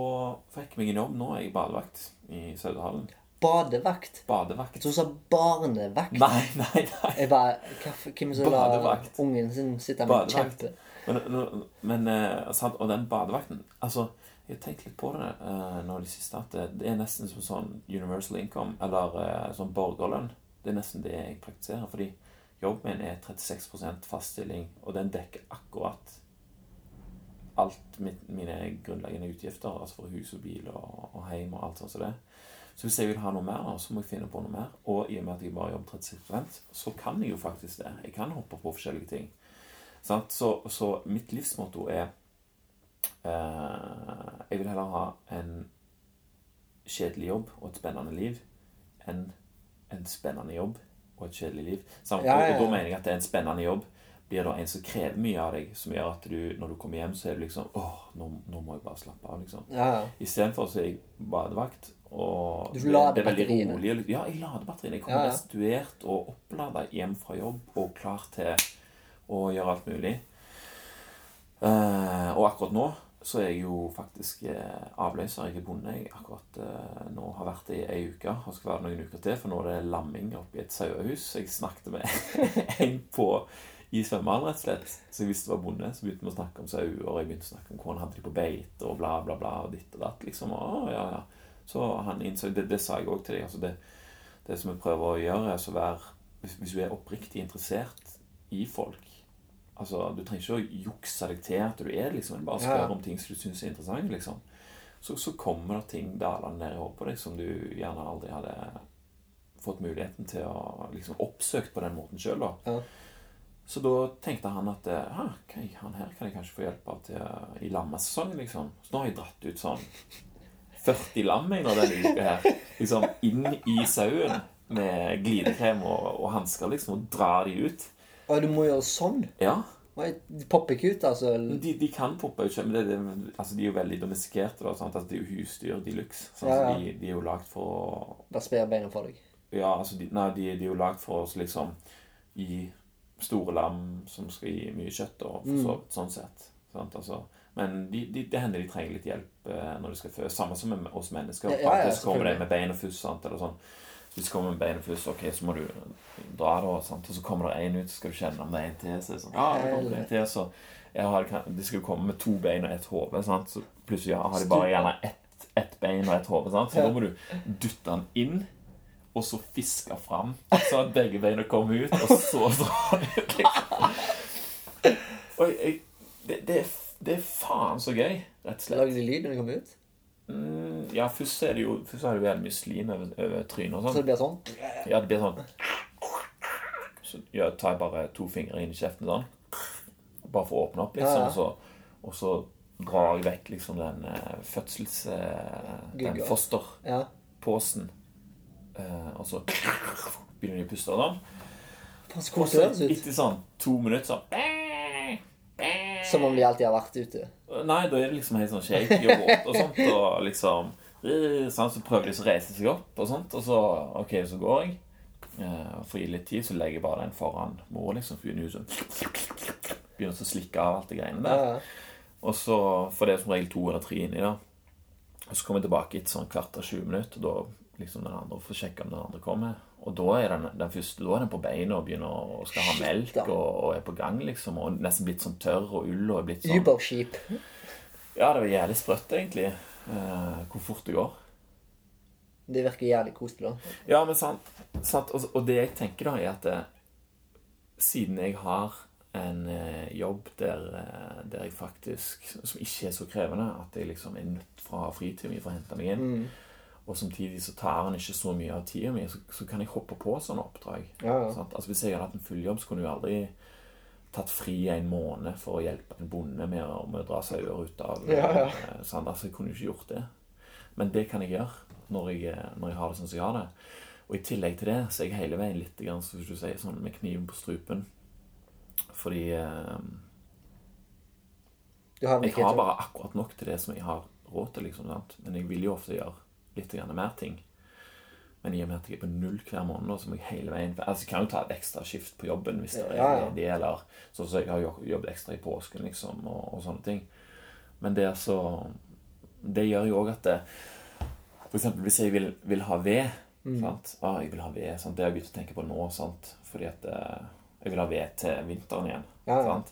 Speaker 1: fikk jeg meg en jobb nå. Jeg er badevakt i Saudahallen.
Speaker 2: eh, Badevakt.
Speaker 1: Badevakt?
Speaker 2: Jeg tror du sa barnevakt.
Speaker 1: Nei, nei, [laughs] nei.
Speaker 2: Jeg bare, hva, f- Hvem som lar
Speaker 1: Badevakt.
Speaker 2: ungen sin sitte med
Speaker 1: Badevakt.
Speaker 2: kjempe?
Speaker 1: Men, nå- men eh, sant? Og den badevakten Altså, jeg har tenkt litt på det eh, nå i det siste, at det- det er nesten som sånn universal income, eller eh, sånn borgerlønn. Det er nesten det jeg praktiserer, fordi jobben min er 36 fast stilling, og den dekker akkurat alt mitt, mine grunnleggende utgifter, altså for hus og bil og, og heim og alt sånt som det. Så hvis jeg vil ha noe mer, da, så må jeg finne på noe mer. Og i og med at jeg bare jobber 36 så kan jeg jo faktisk det. Jeg kan hoppe på forskjellige ting. Sant? Så, så mitt livsmotto er eh, Jeg vil heller ha en kjedelig jobb og et spennende liv enn en spennende jobb og et kjedelig liv. Sant?
Speaker 2: Ja, ja, ja.
Speaker 1: Og da mener jeg at det er en spennende jobb blir da en som krever mye av deg, som gjør at du, når du kommer hjem, så er du liksom åh, nå, nå må jeg bare slappe av, liksom.
Speaker 2: Ja, ja.
Speaker 1: Istedenfor så er jeg badevakt. Og
Speaker 2: Du lader
Speaker 1: det er veldig
Speaker 2: batteriene.
Speaker 1: rolig. og litt- Ja, jeg lader batteriene. Jeg
Speaker 2: Ja,
Speaker 1: kommer
Speaker 2: ja.
Speaker 1: restituert og opplada hjem fra jobb og klar til å gjøre alt mulig. Eh, og akkurat nå så er jeg jo faktisk eh, avløser. Jeg er bonde. Jeg akkurat eh, nå har vært det i ei uke og skal være noen uker til, for nå er det lamming oppe i et sauehus. Jeg snakket med [laughs] en på i svømmehallen, rett og slett, som jeg visste var bonde. Så begynte vi å snakke om sauer, og jeg begynte å snakke om hvor han hadde de på beite, og bla, bla, bla, og ditt og datt, liksom. Og, ja, ja. Så han innså Det, det sa jeg òg til deg. altså det det som vi prøver å gjøre, er å være hvis, hvis du er oppriktig interessert i folk altså, Du trenger ikke å jukse deg til at du er det, liksom, men bare
Speaker 2: Ja.
Speaker 1: spør om ting som du syns er interessant. liksom. Så, så kommer det ting dalende ned i hodet på deg som du gjerne aldri hadde fått muligheten til å liksom oppsøkt på den måten sjøl.
Speaker 2: Ja.
Speaker 1: Så da tenkte han at eh, «Hæ, ok, han her kan jeg kanskje få hjelp av til eh, i lammesesongen, liksom. Så nå har jeg dratt ut sånn 40 lam jeg, nå denne uka her. Liksom inn i sauen med glidekrem og, og hansker, liksom, og drar de ut.
Speaker 2: Og du må gjøre sånn?
Speaker 1: Ja.
Speaker 2: Oi, De popper ikke ut, altså.
Speaker 1: De, de kan poppe ut selv, men det, det, altså, de er jo veldig domestikerte. da, sant? Altså, det er jo husdyr de luxe. sant? Så
Speaker 2: Ja, ja.
Speaker 1: De, de er jo lagd for å
Speaker 2: Bare sper beina for deg.
Speaker 1: Ja, altså, de, nei, de, de er jo lagd for oss liksom i store lam som skal gi mye kjøtt, og for
Speaker 2: Mm.
Speaker 1: så, sånn sett. Sant? Altså, men de, de, det hender de trenger litt hjelp eh, når de skal føde. Samme som med oss mennesker.
Speaker 2: Ja, ja, ja,
Speaker 1: Alltid så kommer de
Speaker 2: selvfølgelig.
Speaker 1: med bein og fuss. Sant? Eller sånn. Så Hvis du kommer med bein og fuss, ok, så må du dra, da. Sant? Og så kommer det én ut, så skal du kjenne om det er en til. Så er det sånn, ja, det kommer en til, så jeg har, kan- De skal jo komme med to bein og ett hode, sant? så plutselig ja, har de bare gjerne ett, ett bein og ett hode. sant? Så da må du dytte den inn og så fiske fram, så at begge beina kom ut, og så dra ut, liksom. Og jeg, jeg, det, det, er, f- det er faen så gøy, rett og slett.
Speaker 2: Lager de lyd når de kommer ut?
Speaker 1: Mm, Ja, først er det jo Først har du veldig mye slim over, over trynet og
Speaker 2: Så
Speaker 1: sånn.
Speaker 2: det blir sånn?
Speaker 1: Ja, det blir sånn Så ja, tar jeg bare to fingre inn i kjeften sånn. Bare for å åpne opp,
Speaker 2: Ja,
Speaker 1: liksom.
Speaker 2: ja.
Speaker 1: Og så, og så drar jeg vekk liksom den eh, fødsels... Eh, den
Speaker 2: Gugga.
Speaker 1: foster
Speaker 2: Ja.
Speaker 1: posen. Eh, og så begynner de å puste. Da.
Speaker 2: Faen, så
Speaker 1: Og
Speaker 2: koselig
Speaker 1: så
Speaker 2: det høres ut.
Speaker 1: etter sånn to minutter sånn
Speaker 2: Som om de alltid har vært ute.
Speaker 1: Nei, da er det liksom helt sånn shaky og våt og sånt. Og liksom eh, sånn, Så prøver de så å reise seg opp og sånt. Og så OK, så går jeg. Eh, For å gi litt tid så legger jeg bare den foran mor, liksom. For hun er jo sånn Begynner å slikke av alt det greiene der.
Speaker 2: Ja, ja.
Speaker 1: Og så får det som regel to eller tre inni, da. Og så kommer jeg tilbake etter sånn kvart av 20 minutter, og da liksom den andre får sjekke om den andre kommer. Og da er den, den første da er den på beina og begynner å skal ha
Speaker 2: Shit,
Speaker 1: melk
Speaker 2: da.
Speaker 1: og, og er på gang, liksom. Og nesten blitt sånn tørr og ull og er blitt sånn
Speaker 2: Uberskip.
Speaker 1: Ja, det var jævlig sprøtt, egentlig, eh, hvor fort det går.
Speaker 2: Det virker jævlig koselig, da.
Speaker 1: Ja, men sant. sant. Og, og det jeg tenker, da, er at eh, siden jeg har en eh, jobb der, eh, der jeg faktisk Som ikke er så krevende, at jeg liksom er nødt fra å ha fritiden min for å hente meg inn,
Speaker 2: Mm.
Speaker 1: og samtidig så tar han ikke så mye av tida mi, så, så kan jeg hoppe på sånne oppdrag.
Speaker 2: Ja, ja.
Speaker 1: Sant? Altså, hvis jeg hadde hatt en full jobb, så kunne jeg jo aldri tatt fri en måned for å hjelpe en bonde med å, med å dra sauer ut av
Speaker 2: Ja, ja.
Speaker 1: eh, sant? Altså, Jeg kunne jo ikke gjort det. Men det kan jeg gjøre når jeg, når jeg har det sånn som jeg har det. Og i tillegg til det så er jeg hele veien litt grann, som du sier, sånn med kniven på strupen. Fordi eh,
Speaker 2: Du har den
Speaker 1: jeg
Speaker 2: ikke
Speaker 1: har
Speaker 2: sånn.
Speaker 1: bare akkurat nok til det som jeg har råd til. liksom, sant? Men jeg vil jo ofte gjøre litt grann mer ting. Men i og med at jeg er på null hver måned, nå, så må jeg hele veien Altså, jeg kan jo ta et ekstra skift på jobben hvis det er
Speaker 2: Ja, ja.
Speaker 1: ledig, eller sånn som jeg har jo- jobbet ekstra i påsken, liksom, og, og sånne ting. Men det er så Det gjør jo òg at det, For eksempel hvis jeg vil, vil ha ved
Speaker 2: Mm.
Speaker 1: sant? Ah, jeg vil ha ved, sant? Det har jeg begynt å tenke på nå, sant? fordi at eh, jeg vil ha ved til vinteren igjen.
Speaker 2: Ja, ja.
Speaker 1: Sant?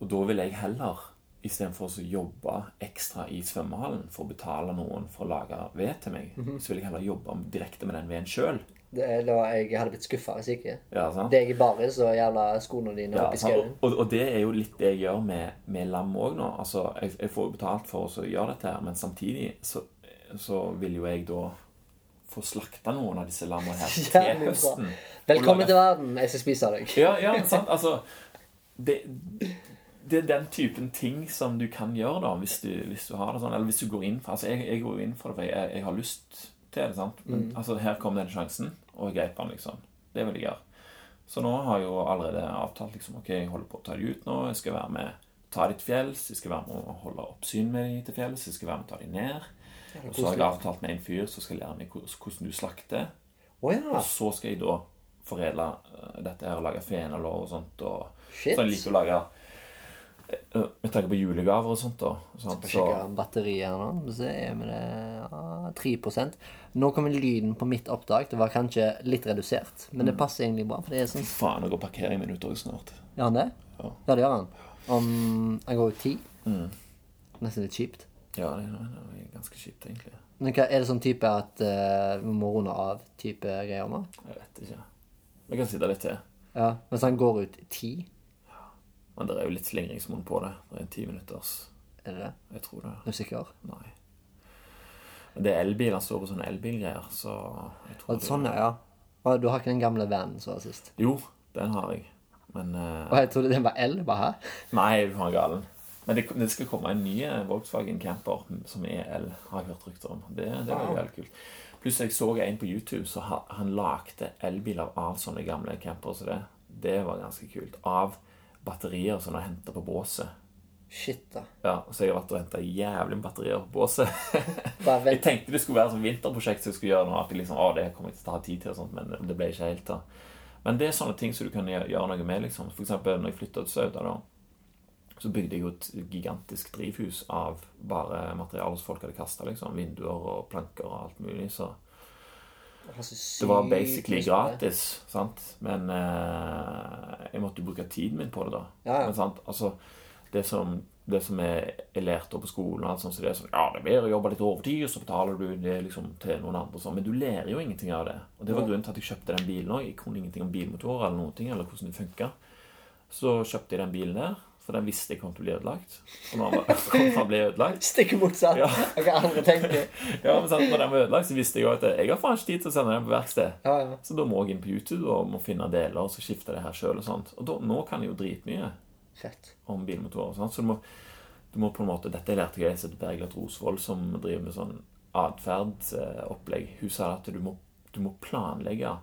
Speaker 1: Og da vil jeg heller, istedenfor å så jobbe ekstra i svømmehallen for å betale noen for å lage ved til meg,
Speaker 2: Mhm.
Speaker 1: så vil jeg heller jobbe direkte med den veden sjøl.
Speaker 2: Det er da jeg hadde blitt skuffa hvis ikke.
Speaker 1: Ja, sant?
Speaker 2: Deg i baris og jævla skoene dine
Speaker 1: Ja,
Speaker 2: oppi
Speaker 1: sant?
Speaker 2: skauen.
Speaker 1: og, og det er jo litt det jeg gjør med, med lam òg nå. Altså, jeg, jeg får jo betalt for å så gjøre dette, her, men samtidig så, så vil jo jeg da få slakta noen av disse lammene
Speaker 2: [laughs]
Speaker 1: her til
Speaker 2: Jævlig bra.
Speaker 1: høsten.
Speaker 2: Velkommen
Speaker 1: Og lage-
Speaker 2: til verden, jeg skal spise deg.
Speaker 1: Ja, ja, sant? Altså, det, det er den typen ting som du kan gjøre da, hvis du, hvis du har det sånn. Eller hvis du går inn for altså, jeg, jeg går jo inn for det, for jeg, jeg har lyst til det. sant? Men altså, her kom den sjansen, og jeg grep den, liksom. Det vil jeg gjøre. Så nå har jeg jo allerede avtalt liksom, ok, jeg holder på å ta de ut nå. Jeg skal være med ta de til fjells. Jeg skal være med å holde oppsyn med de til fjells. Jeg skal være med å ta de ned. Og så har jeg avtalt med en fyr som skal lære meg hvordan hvordan du slakter.
Speaker 2: Å ja.
Speaker 1: Og så skal jeg da foredle eh, dette her og lage fenalår og sånt. Og,
Speaker 2: Shit.
Speaker 1: Så jeg liker å lage eh, Med tanke på julegaver og sånt, da. Sant? Så,
Speaker 2: Sjekke batteriet her nå. Så er vi det ja, 3 Nå kommer lyden på mitt opptak. Det var kanskje litt redusert,
Speaker 1: Mm.
Speaker 2: men det passer egentlig bra. For det er sånn
Speaker 1: faen, nå går parkeringen min ut også snart.
Speaker 2: Gjør han det?
Speaker 1: Ja. Mm.
Speaker 2: Ja, det gjør han. Om Han går jo ti. Nesten litt kjipt.
Speaker 1: Ja, det er, det er ganske kjipt, egentlig.
Speaker 2: Men hva, er det sånn type at eh, vi må runde av type greier nå?
Speaker 1: Jeg vet ikke. Vi kan sitte litt til.
Speaker 2: Ja. Mens han går ut ti,
Speaker 1: Men det er jo litt slingringsmonn på det. Det er en ti minutters.
Speaker 2: er det det?
Speaker 1: Jeg tror det.
Speaker 2: Er du sikker?
Speaker 1: Nei. Men det er elbil. Han står på sånne elbilgreier, så jeg tror
Speaker 2: Og sånn, ja. Å, Du har ikke den gamle vanen som var sist?
Speaker 1: Jo, den har jeg. Men eh,
Speaker 2: Og jeg trodde den var L, bare her.
Speaker 1: Nei, du har galen. Men det, det skal komme en ny eh, Volkswagen Camper som er el, har jeg hørt rykter om. Det, det var jo veldig kult. Pluss jeg så en på YouTube som ha- han lagde elbiler av sånne gamle campere som det. Det var ganske kult. Av batterier som han henta på båset.
Speaker 2: Shit, da.
Speaker 1: Ja, så jeg har vært og henta jævlig med batterier på båset.
Speaker 2: [laughs] Bare
Speaker 1: jeg
Speaker 2: vent.
Speaker 1: tenkte det skulle være sånn vinterprosjekt som jeg skulle gjøre nå, at jeg liksom, å, det kommer jeg til å ha tid til og sånt, men det ble ikke helt da. Men det er sånne ting som du kan gjøre gjøre noe med, liksom. For eksempel når jeg flyttet til Sauda da, så bygde jeg jo et gigantisk drivhus av bare materialer som folk hadde kastet, liksom. Vinduer og planker og alt mulig, så
Speaker 2: Jeg har så sykt
Speaker 1: det var basically
Speaker 2: lyst på det.
Speaker 1: gratis, sant? Men eh, jeg måtte jo bruke tiden min på det da.
Speaker 2: Ja, ja.
Speaker 1: Men, sant? Altså, det som, det som jeg, jeg lærte opp på skolen, og alt sånt, så det er sånn, ja, det er bedre å jobbe litt overtid, og så betaler du det liksom til noen andre, og sånn. men du lærer jo ingenting av det. Og det var grunnen til at jeg kjøpte den bilen også. Jeg kunne ingenting om bilmotorer eller noen ting, eller hvordan det funket. Så kjøpte jeg den bilen der, for den visste jeg kom til å bli ødelagt. Og når den var- [laughs] kom til å bli ødelagt,
Speaker 2: Stikk motsatt [laughs]
Speaker 1: Ja.
Speaker 2: av hva andre tenker.
Speaker 1: ja, men sant, når den var ødelagt, så visste jeg jo at jeg har faen ikke tid til å sende den på verksted.
Speaker 2: Ja, ja.
Speaker 1: Så da må jeg inn på YouTube og må finne deler og så skifte det her sjøl. Og sånt. Og da, nå kan jeg jo dritmye
Speaker 2: Fett.
Speaker 1: om bilmotorer. og sånt. Så du må, du må på en måte Dette lærte jeg av Bergljot Rosvold, som driver med sånn atferdsopplegg. Hun sa at du må, du må planlegge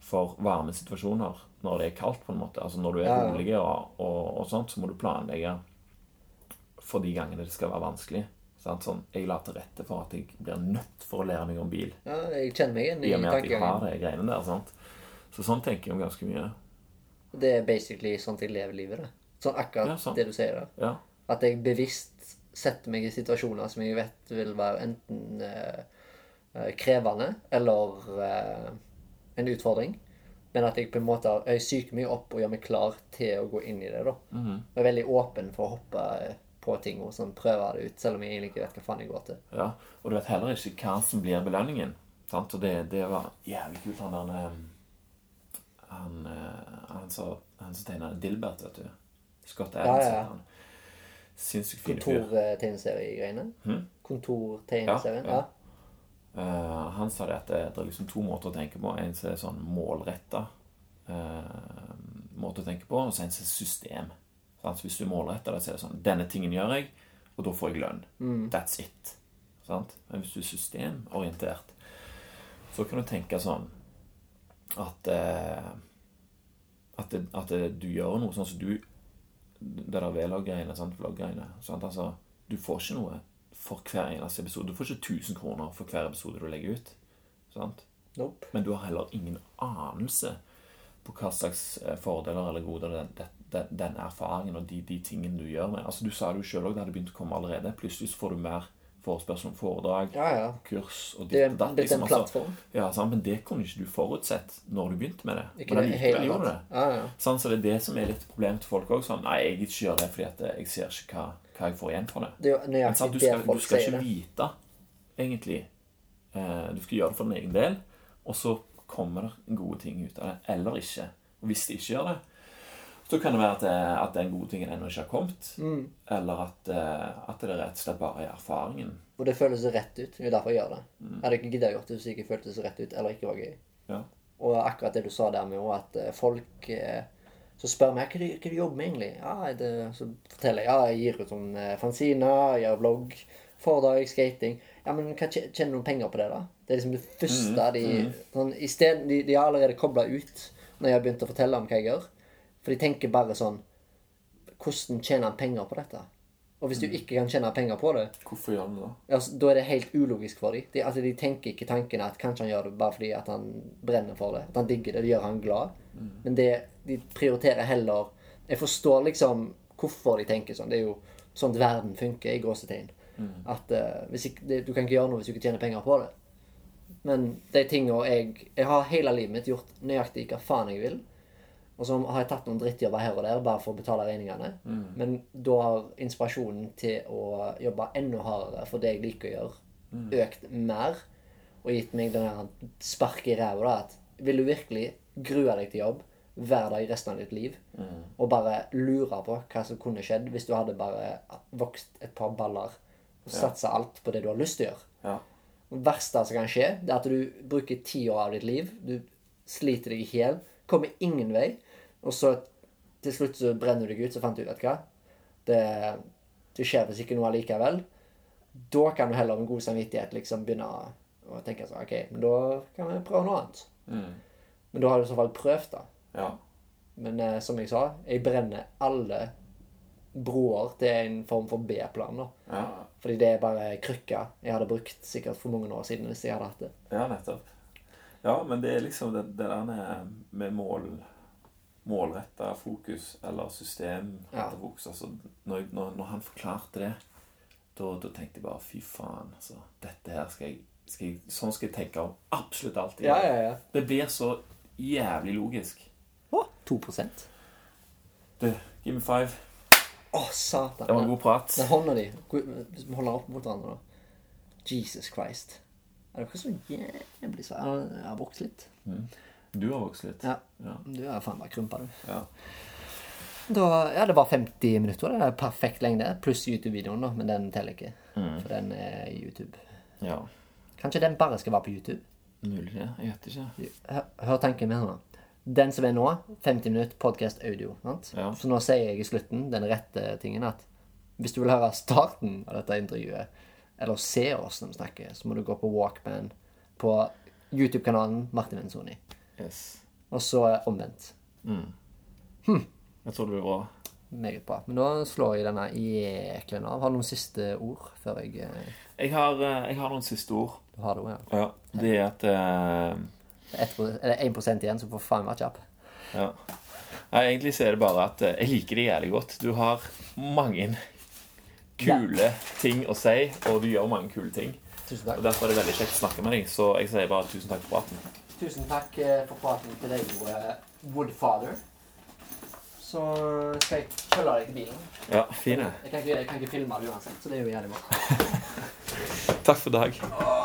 Speaker 1: for varme situasjoner når det er kaldt, på en måte. Altså når du er
Speaker 2: Ja, ja.
Speaker 1: rolig og, og, og sånt, så må du planlegge for de gangene det skal være vanskelig. Sant? Sånn, jeg la til rette for at jeg blir nødt for å lære meg om bil
Speaker 2: Ja, jeg kjenner meg igjen
Speaker 1: i
Speaker 2: i
Speaker 1: og med at jeg har
Speaker 2: tankegangen.
Speaker 1: de greiene der. sant? Så sånn tenker jeg om ganske mye.
Speaker 2: Det er basically sånn at jeg lever livet. da. Sånn akkurat
Speaker 1: Ja, sant.
Speaker 2: det du sier der.
Speaker 1: Ja.
Speaker 2: At jeg bevisst setter meg i situasjoner som jeg vet vil være enten eh, eh, krevende eller eh, en utfordring. Men at jeg på en måte har- jeg psyker meg opp og gjør meg klar til å gå inn i det. da.
Speaker 1: Mhm.
Speaker 2: Og er veldig åpen for å hoppe på ting og sånn, prøve det ut, selv om jeg egentlig ikke vet hva faen jeg går til.
Speaker 1: Ja, og du vet heller ikke hva som blir belønningen. Sant? Og det, det var jævlig kult, han der eh, Han, eh, han som han som tegna Dilbert, vet du. Scott Adams.
Speaker 2: ja, ja.
Speaker 1: heter han. Sinnssykt fin fyr.
Speaker 2: eh, Kontortegneseriegreiene. Hmm? Kontortegneserien.
Speaker 1: Mhm. Ja,
Speaker 2: Ja,
Speaker 1: ja. Eh, han sa det at det, det er liksom to måter å tenke på. En som er sånn målretta eh, måte å tenke på, og så en som er system. Sant? Så hvis du målretter det, så er det sånn Denne tingen gjør jeg, og da får jeg lønn. That's it. Sant? Men hvis du er systemorientert, så kan du tenke sånn at eh, at, det, at det, du gjør noe sånn som du Det der vlog-greiene, sant, vlogg-greiene. sant, Altså, du får ikke noe for hver eneste episode. Du får ikke 1000 kroner for hver episode du legger ut. sant,
Speaker 2: Nope.
Speaker 1: Men du har heller ingen anelse på hva slags eh, fordeler eller goder den, den, den, den erfaringen og de, de tingene du gjør med Altså, Du sa det jo sjøl òg, det hadde begynt å komme allerede. Plutselig så får du mer forespørsel om foredrag,
Speaker 2: Ja, ja.
Speaker 1: kurs og
Speaker 2: Det
Speaker 1: ditt
Speaker 2: er-
Speaker 1: og datt.
Speaker 2: det er en
Speaker 1: liksom, altså.
Speaker 2: plattform.
Speaker 1: Ja, sant? Men det kunne ikke du forutsett når du begynte med det.
Speaker 2: Ikke
Speaker 1: Men
Speaker 2: det
Speaker 1: allikevel
Speaker 2: hele
Speaker 1: gjorde du det.
Speaker 2: tatt. Ja, ja.
Speaker 1: Sånn, så det er det som er litt problem til folk òg. Sånn, nei, jeg gidder ikke gjøre det fordi at jeg ser ikke hva, hva jeg får igjen for det.
Speaker 2: Det er jo
Speaker 1: Men sant,
Speaker 2: nøyaktig
Speaker 1: du
Speaker 2: det
Speaker 1: skal,
Speaker 2: folk
Speaker 1: du skal
Speaker 2: sier.
Speaker 1: ikke
Speaker 2: det.
Speaker 1: vite, egentlig. Eh, du skal gjøre det for din egen del, og så kommer det gode ting ut av det. Eller ikke. Og hvis de ikke gjør det, så kan det være at, eh, at den gode tingen ennå ikke har kommet.
Speaker 2: Mm.
Speaker 1: Eller at, eh, at det rett og slett bare er erfaringen.
Speaker 2: Og det føles rett ut. Det er derfor jeg gjør det. Jeg hadde ikke giddet å gjøre det hvis det ikke føltes rett ut eller ikke var gøy.
Speaker 1: Ja.
Speaker 2: Og akkurat det du sa der med også, at eh, folk eh, så spør meg hva du, hva du jobber med egentlig. Ja, det, så forteller jeg ja, jeg gir ut sånn eh, fanziner, jeg gjør blogg, foredrag, skating. Ja, men hva, tje- tjener du noen penger på det, da? Det er liksom det første de sånn, i stedet, de, de har allerede kobla ut når jeg har begynt å fortelle om hva jeg gjør. For de tenker bare sånn Hvordan tjener han penger på dette? Og hvis du ikke kan tjene penger på det,
Speaker 1: Hvorfor gjør du det?
Speaker 2: Altså, da er det helt ulogisk for dem. De, altså, de tenker ikke tanken at kanskje han gjør det bare fordi at han brenner for det. At han digger det. Det gjør han glad. Men det, de prioriterer heller Jeg forstår liksom hvorfor de tenker sånn. Det er jo sånn verden funker, i gåsetegn. At eh, hvis ikke, det, du kan ikke gjøre noe hvis du ikke tjener penger på det. Men de tingene jeg Jeg har hele livet mitt gjort nøyaktig hva faen jeg vil. Og så har jeg tatt noen drittjobber her og der bare for å betale regningene. Men da har inspirasjonen til å jobbe enda hardere for det jeg liker å gjøre, økt mer. Og gitt meg den her sparket i ræva da, at vil du virkelig grue deg til jobb hver dag resten av ditt liv, og bare lure på hva som kunne skjedd hvis du hadde bare vokst et par baller og satsa alt på det du har lyst til å gjøre?
Speaker 1: Ja.
Speaker 2: Det verste som kan skje, det er at du bruker ti år av ditt liv. Du sliter deg i hjel. Kommer ingen vei. Og så til slutt så brenner du deg ut, så fant du ut at hva Det, det skjer hvis ikke noe allikevel. Da kan du heller med god samvittighet liksom begynne å, å tenke sånn OK, men da kan vi prøve noe annet.
Speaker 1: Mm.
Speaker 2: Men da har du i så fall prøvd, da.
Speaker 1: ja.
Speaker 2: Men eh, som jeg sa, jeg brenner alle broer til en form for B-plan, da.
Speaker 1: ja.
Speaker 2: Fordi det er bare krykker jeg hadde brukt sikkert for mange år siden hvis jeg hadde hatt det.
Speaker 1: Ja, nettopp. Ja, men det er liksom det, det der med, med mål Målretta fokus eller systemretta
Speaker 2: Ja.
Speaker 1: fokus. Altså, når, når, når han forklarte det, da, da tenkte jeg bare fy faen, altså. Dette her skal jeg, skal jeg Sånn skal jeg tenke om absolutt alt. i
Speaker 2: Ja,
Speaker 1: livet.
Speaker 2: ja, ja.
Speaker 1: Det blir så jævlig logisk.
Speaker 2: Å, 2 Å,
Speaker 1: Du, give me five.
Speaker 2: satan.
Speaker 1: Det var en god prat.
Speaker 2: Den hånda di Hvor- Hvis vi holder den opp mot hverandre, da. Jesus Christ. Er dere så jævlig svære? Jeg har vokst litt.
Speaker 1: Du har vokst litt.
Speaker 2: Ja.
Speaker 1: Ja.
Speaker 2: Du er faen meg krympa, du.
Speaker 1: Ja.
Speaker 2: Da, ja, det var 50 minutter. Det er perfekt lengde. Pluss YouTube-videoen, da. Men den teller ikke. For den er YouTube.
Speaker 1: ja.
Speaker 2: Kanskje den bare skal være på YouTube?
Speaker 1: Mulig det. Jeg vet ikke.
Speaker 2: Hør, hør tanken min her nå. Den som er nå, 50 minutt podcast audio. Sant?
Speaker 1: Ja.
Speaker 2: Så nå sier jeg i slutten den rette tingen at hvis du vil høre starten av dette intervjuet, eller se oss når vi snakker, så må du gå på Walkman på YouTube-kanalen Martin Venzoni.
Speaker 1: Yes.
Speaker 2: Og så omvendt.
Speaker 1: Jeg tror det blir bra.
Speaker 2: Meget bra. Men nå slår jeg denne jæklen av. Har du noen siste ord før jeg eh,
Speaker 1: Jeg har, eh, jeg har noen siste ord.
Speaker 2: Du har det òg, ja.
Speaker 1: Ja, det er at eh,
Speaker 2: 1 eller 1 igjen, så får faen meg kjapp.
Speaker 1: Ja. Nei, egentlig så er det bare at eh, jeg liker det jævlig godt. Du har mange kule ting å si, og du gjør mange kule ting.
Speaker 2: Tusen
Speaker 1: Og
Speaker 2: takk.
Speaker 1: Derfor er det veldig kjekt å snakke med deg, så jeg sier bare tusen takk for praten.
Speaker 2: Tusen takk eh, for praten til deg, gode eh, Woodfather. Så eh, skal jeg følge deg til bilen.
Speaker 1: Ja, fine.
Speaker 2: Jeg kan ikke, jeg kan ikke filme det uansett, så det er jo jævlig bra.
Speaker 1: Takk for i dag.
Speaker 2: Åh,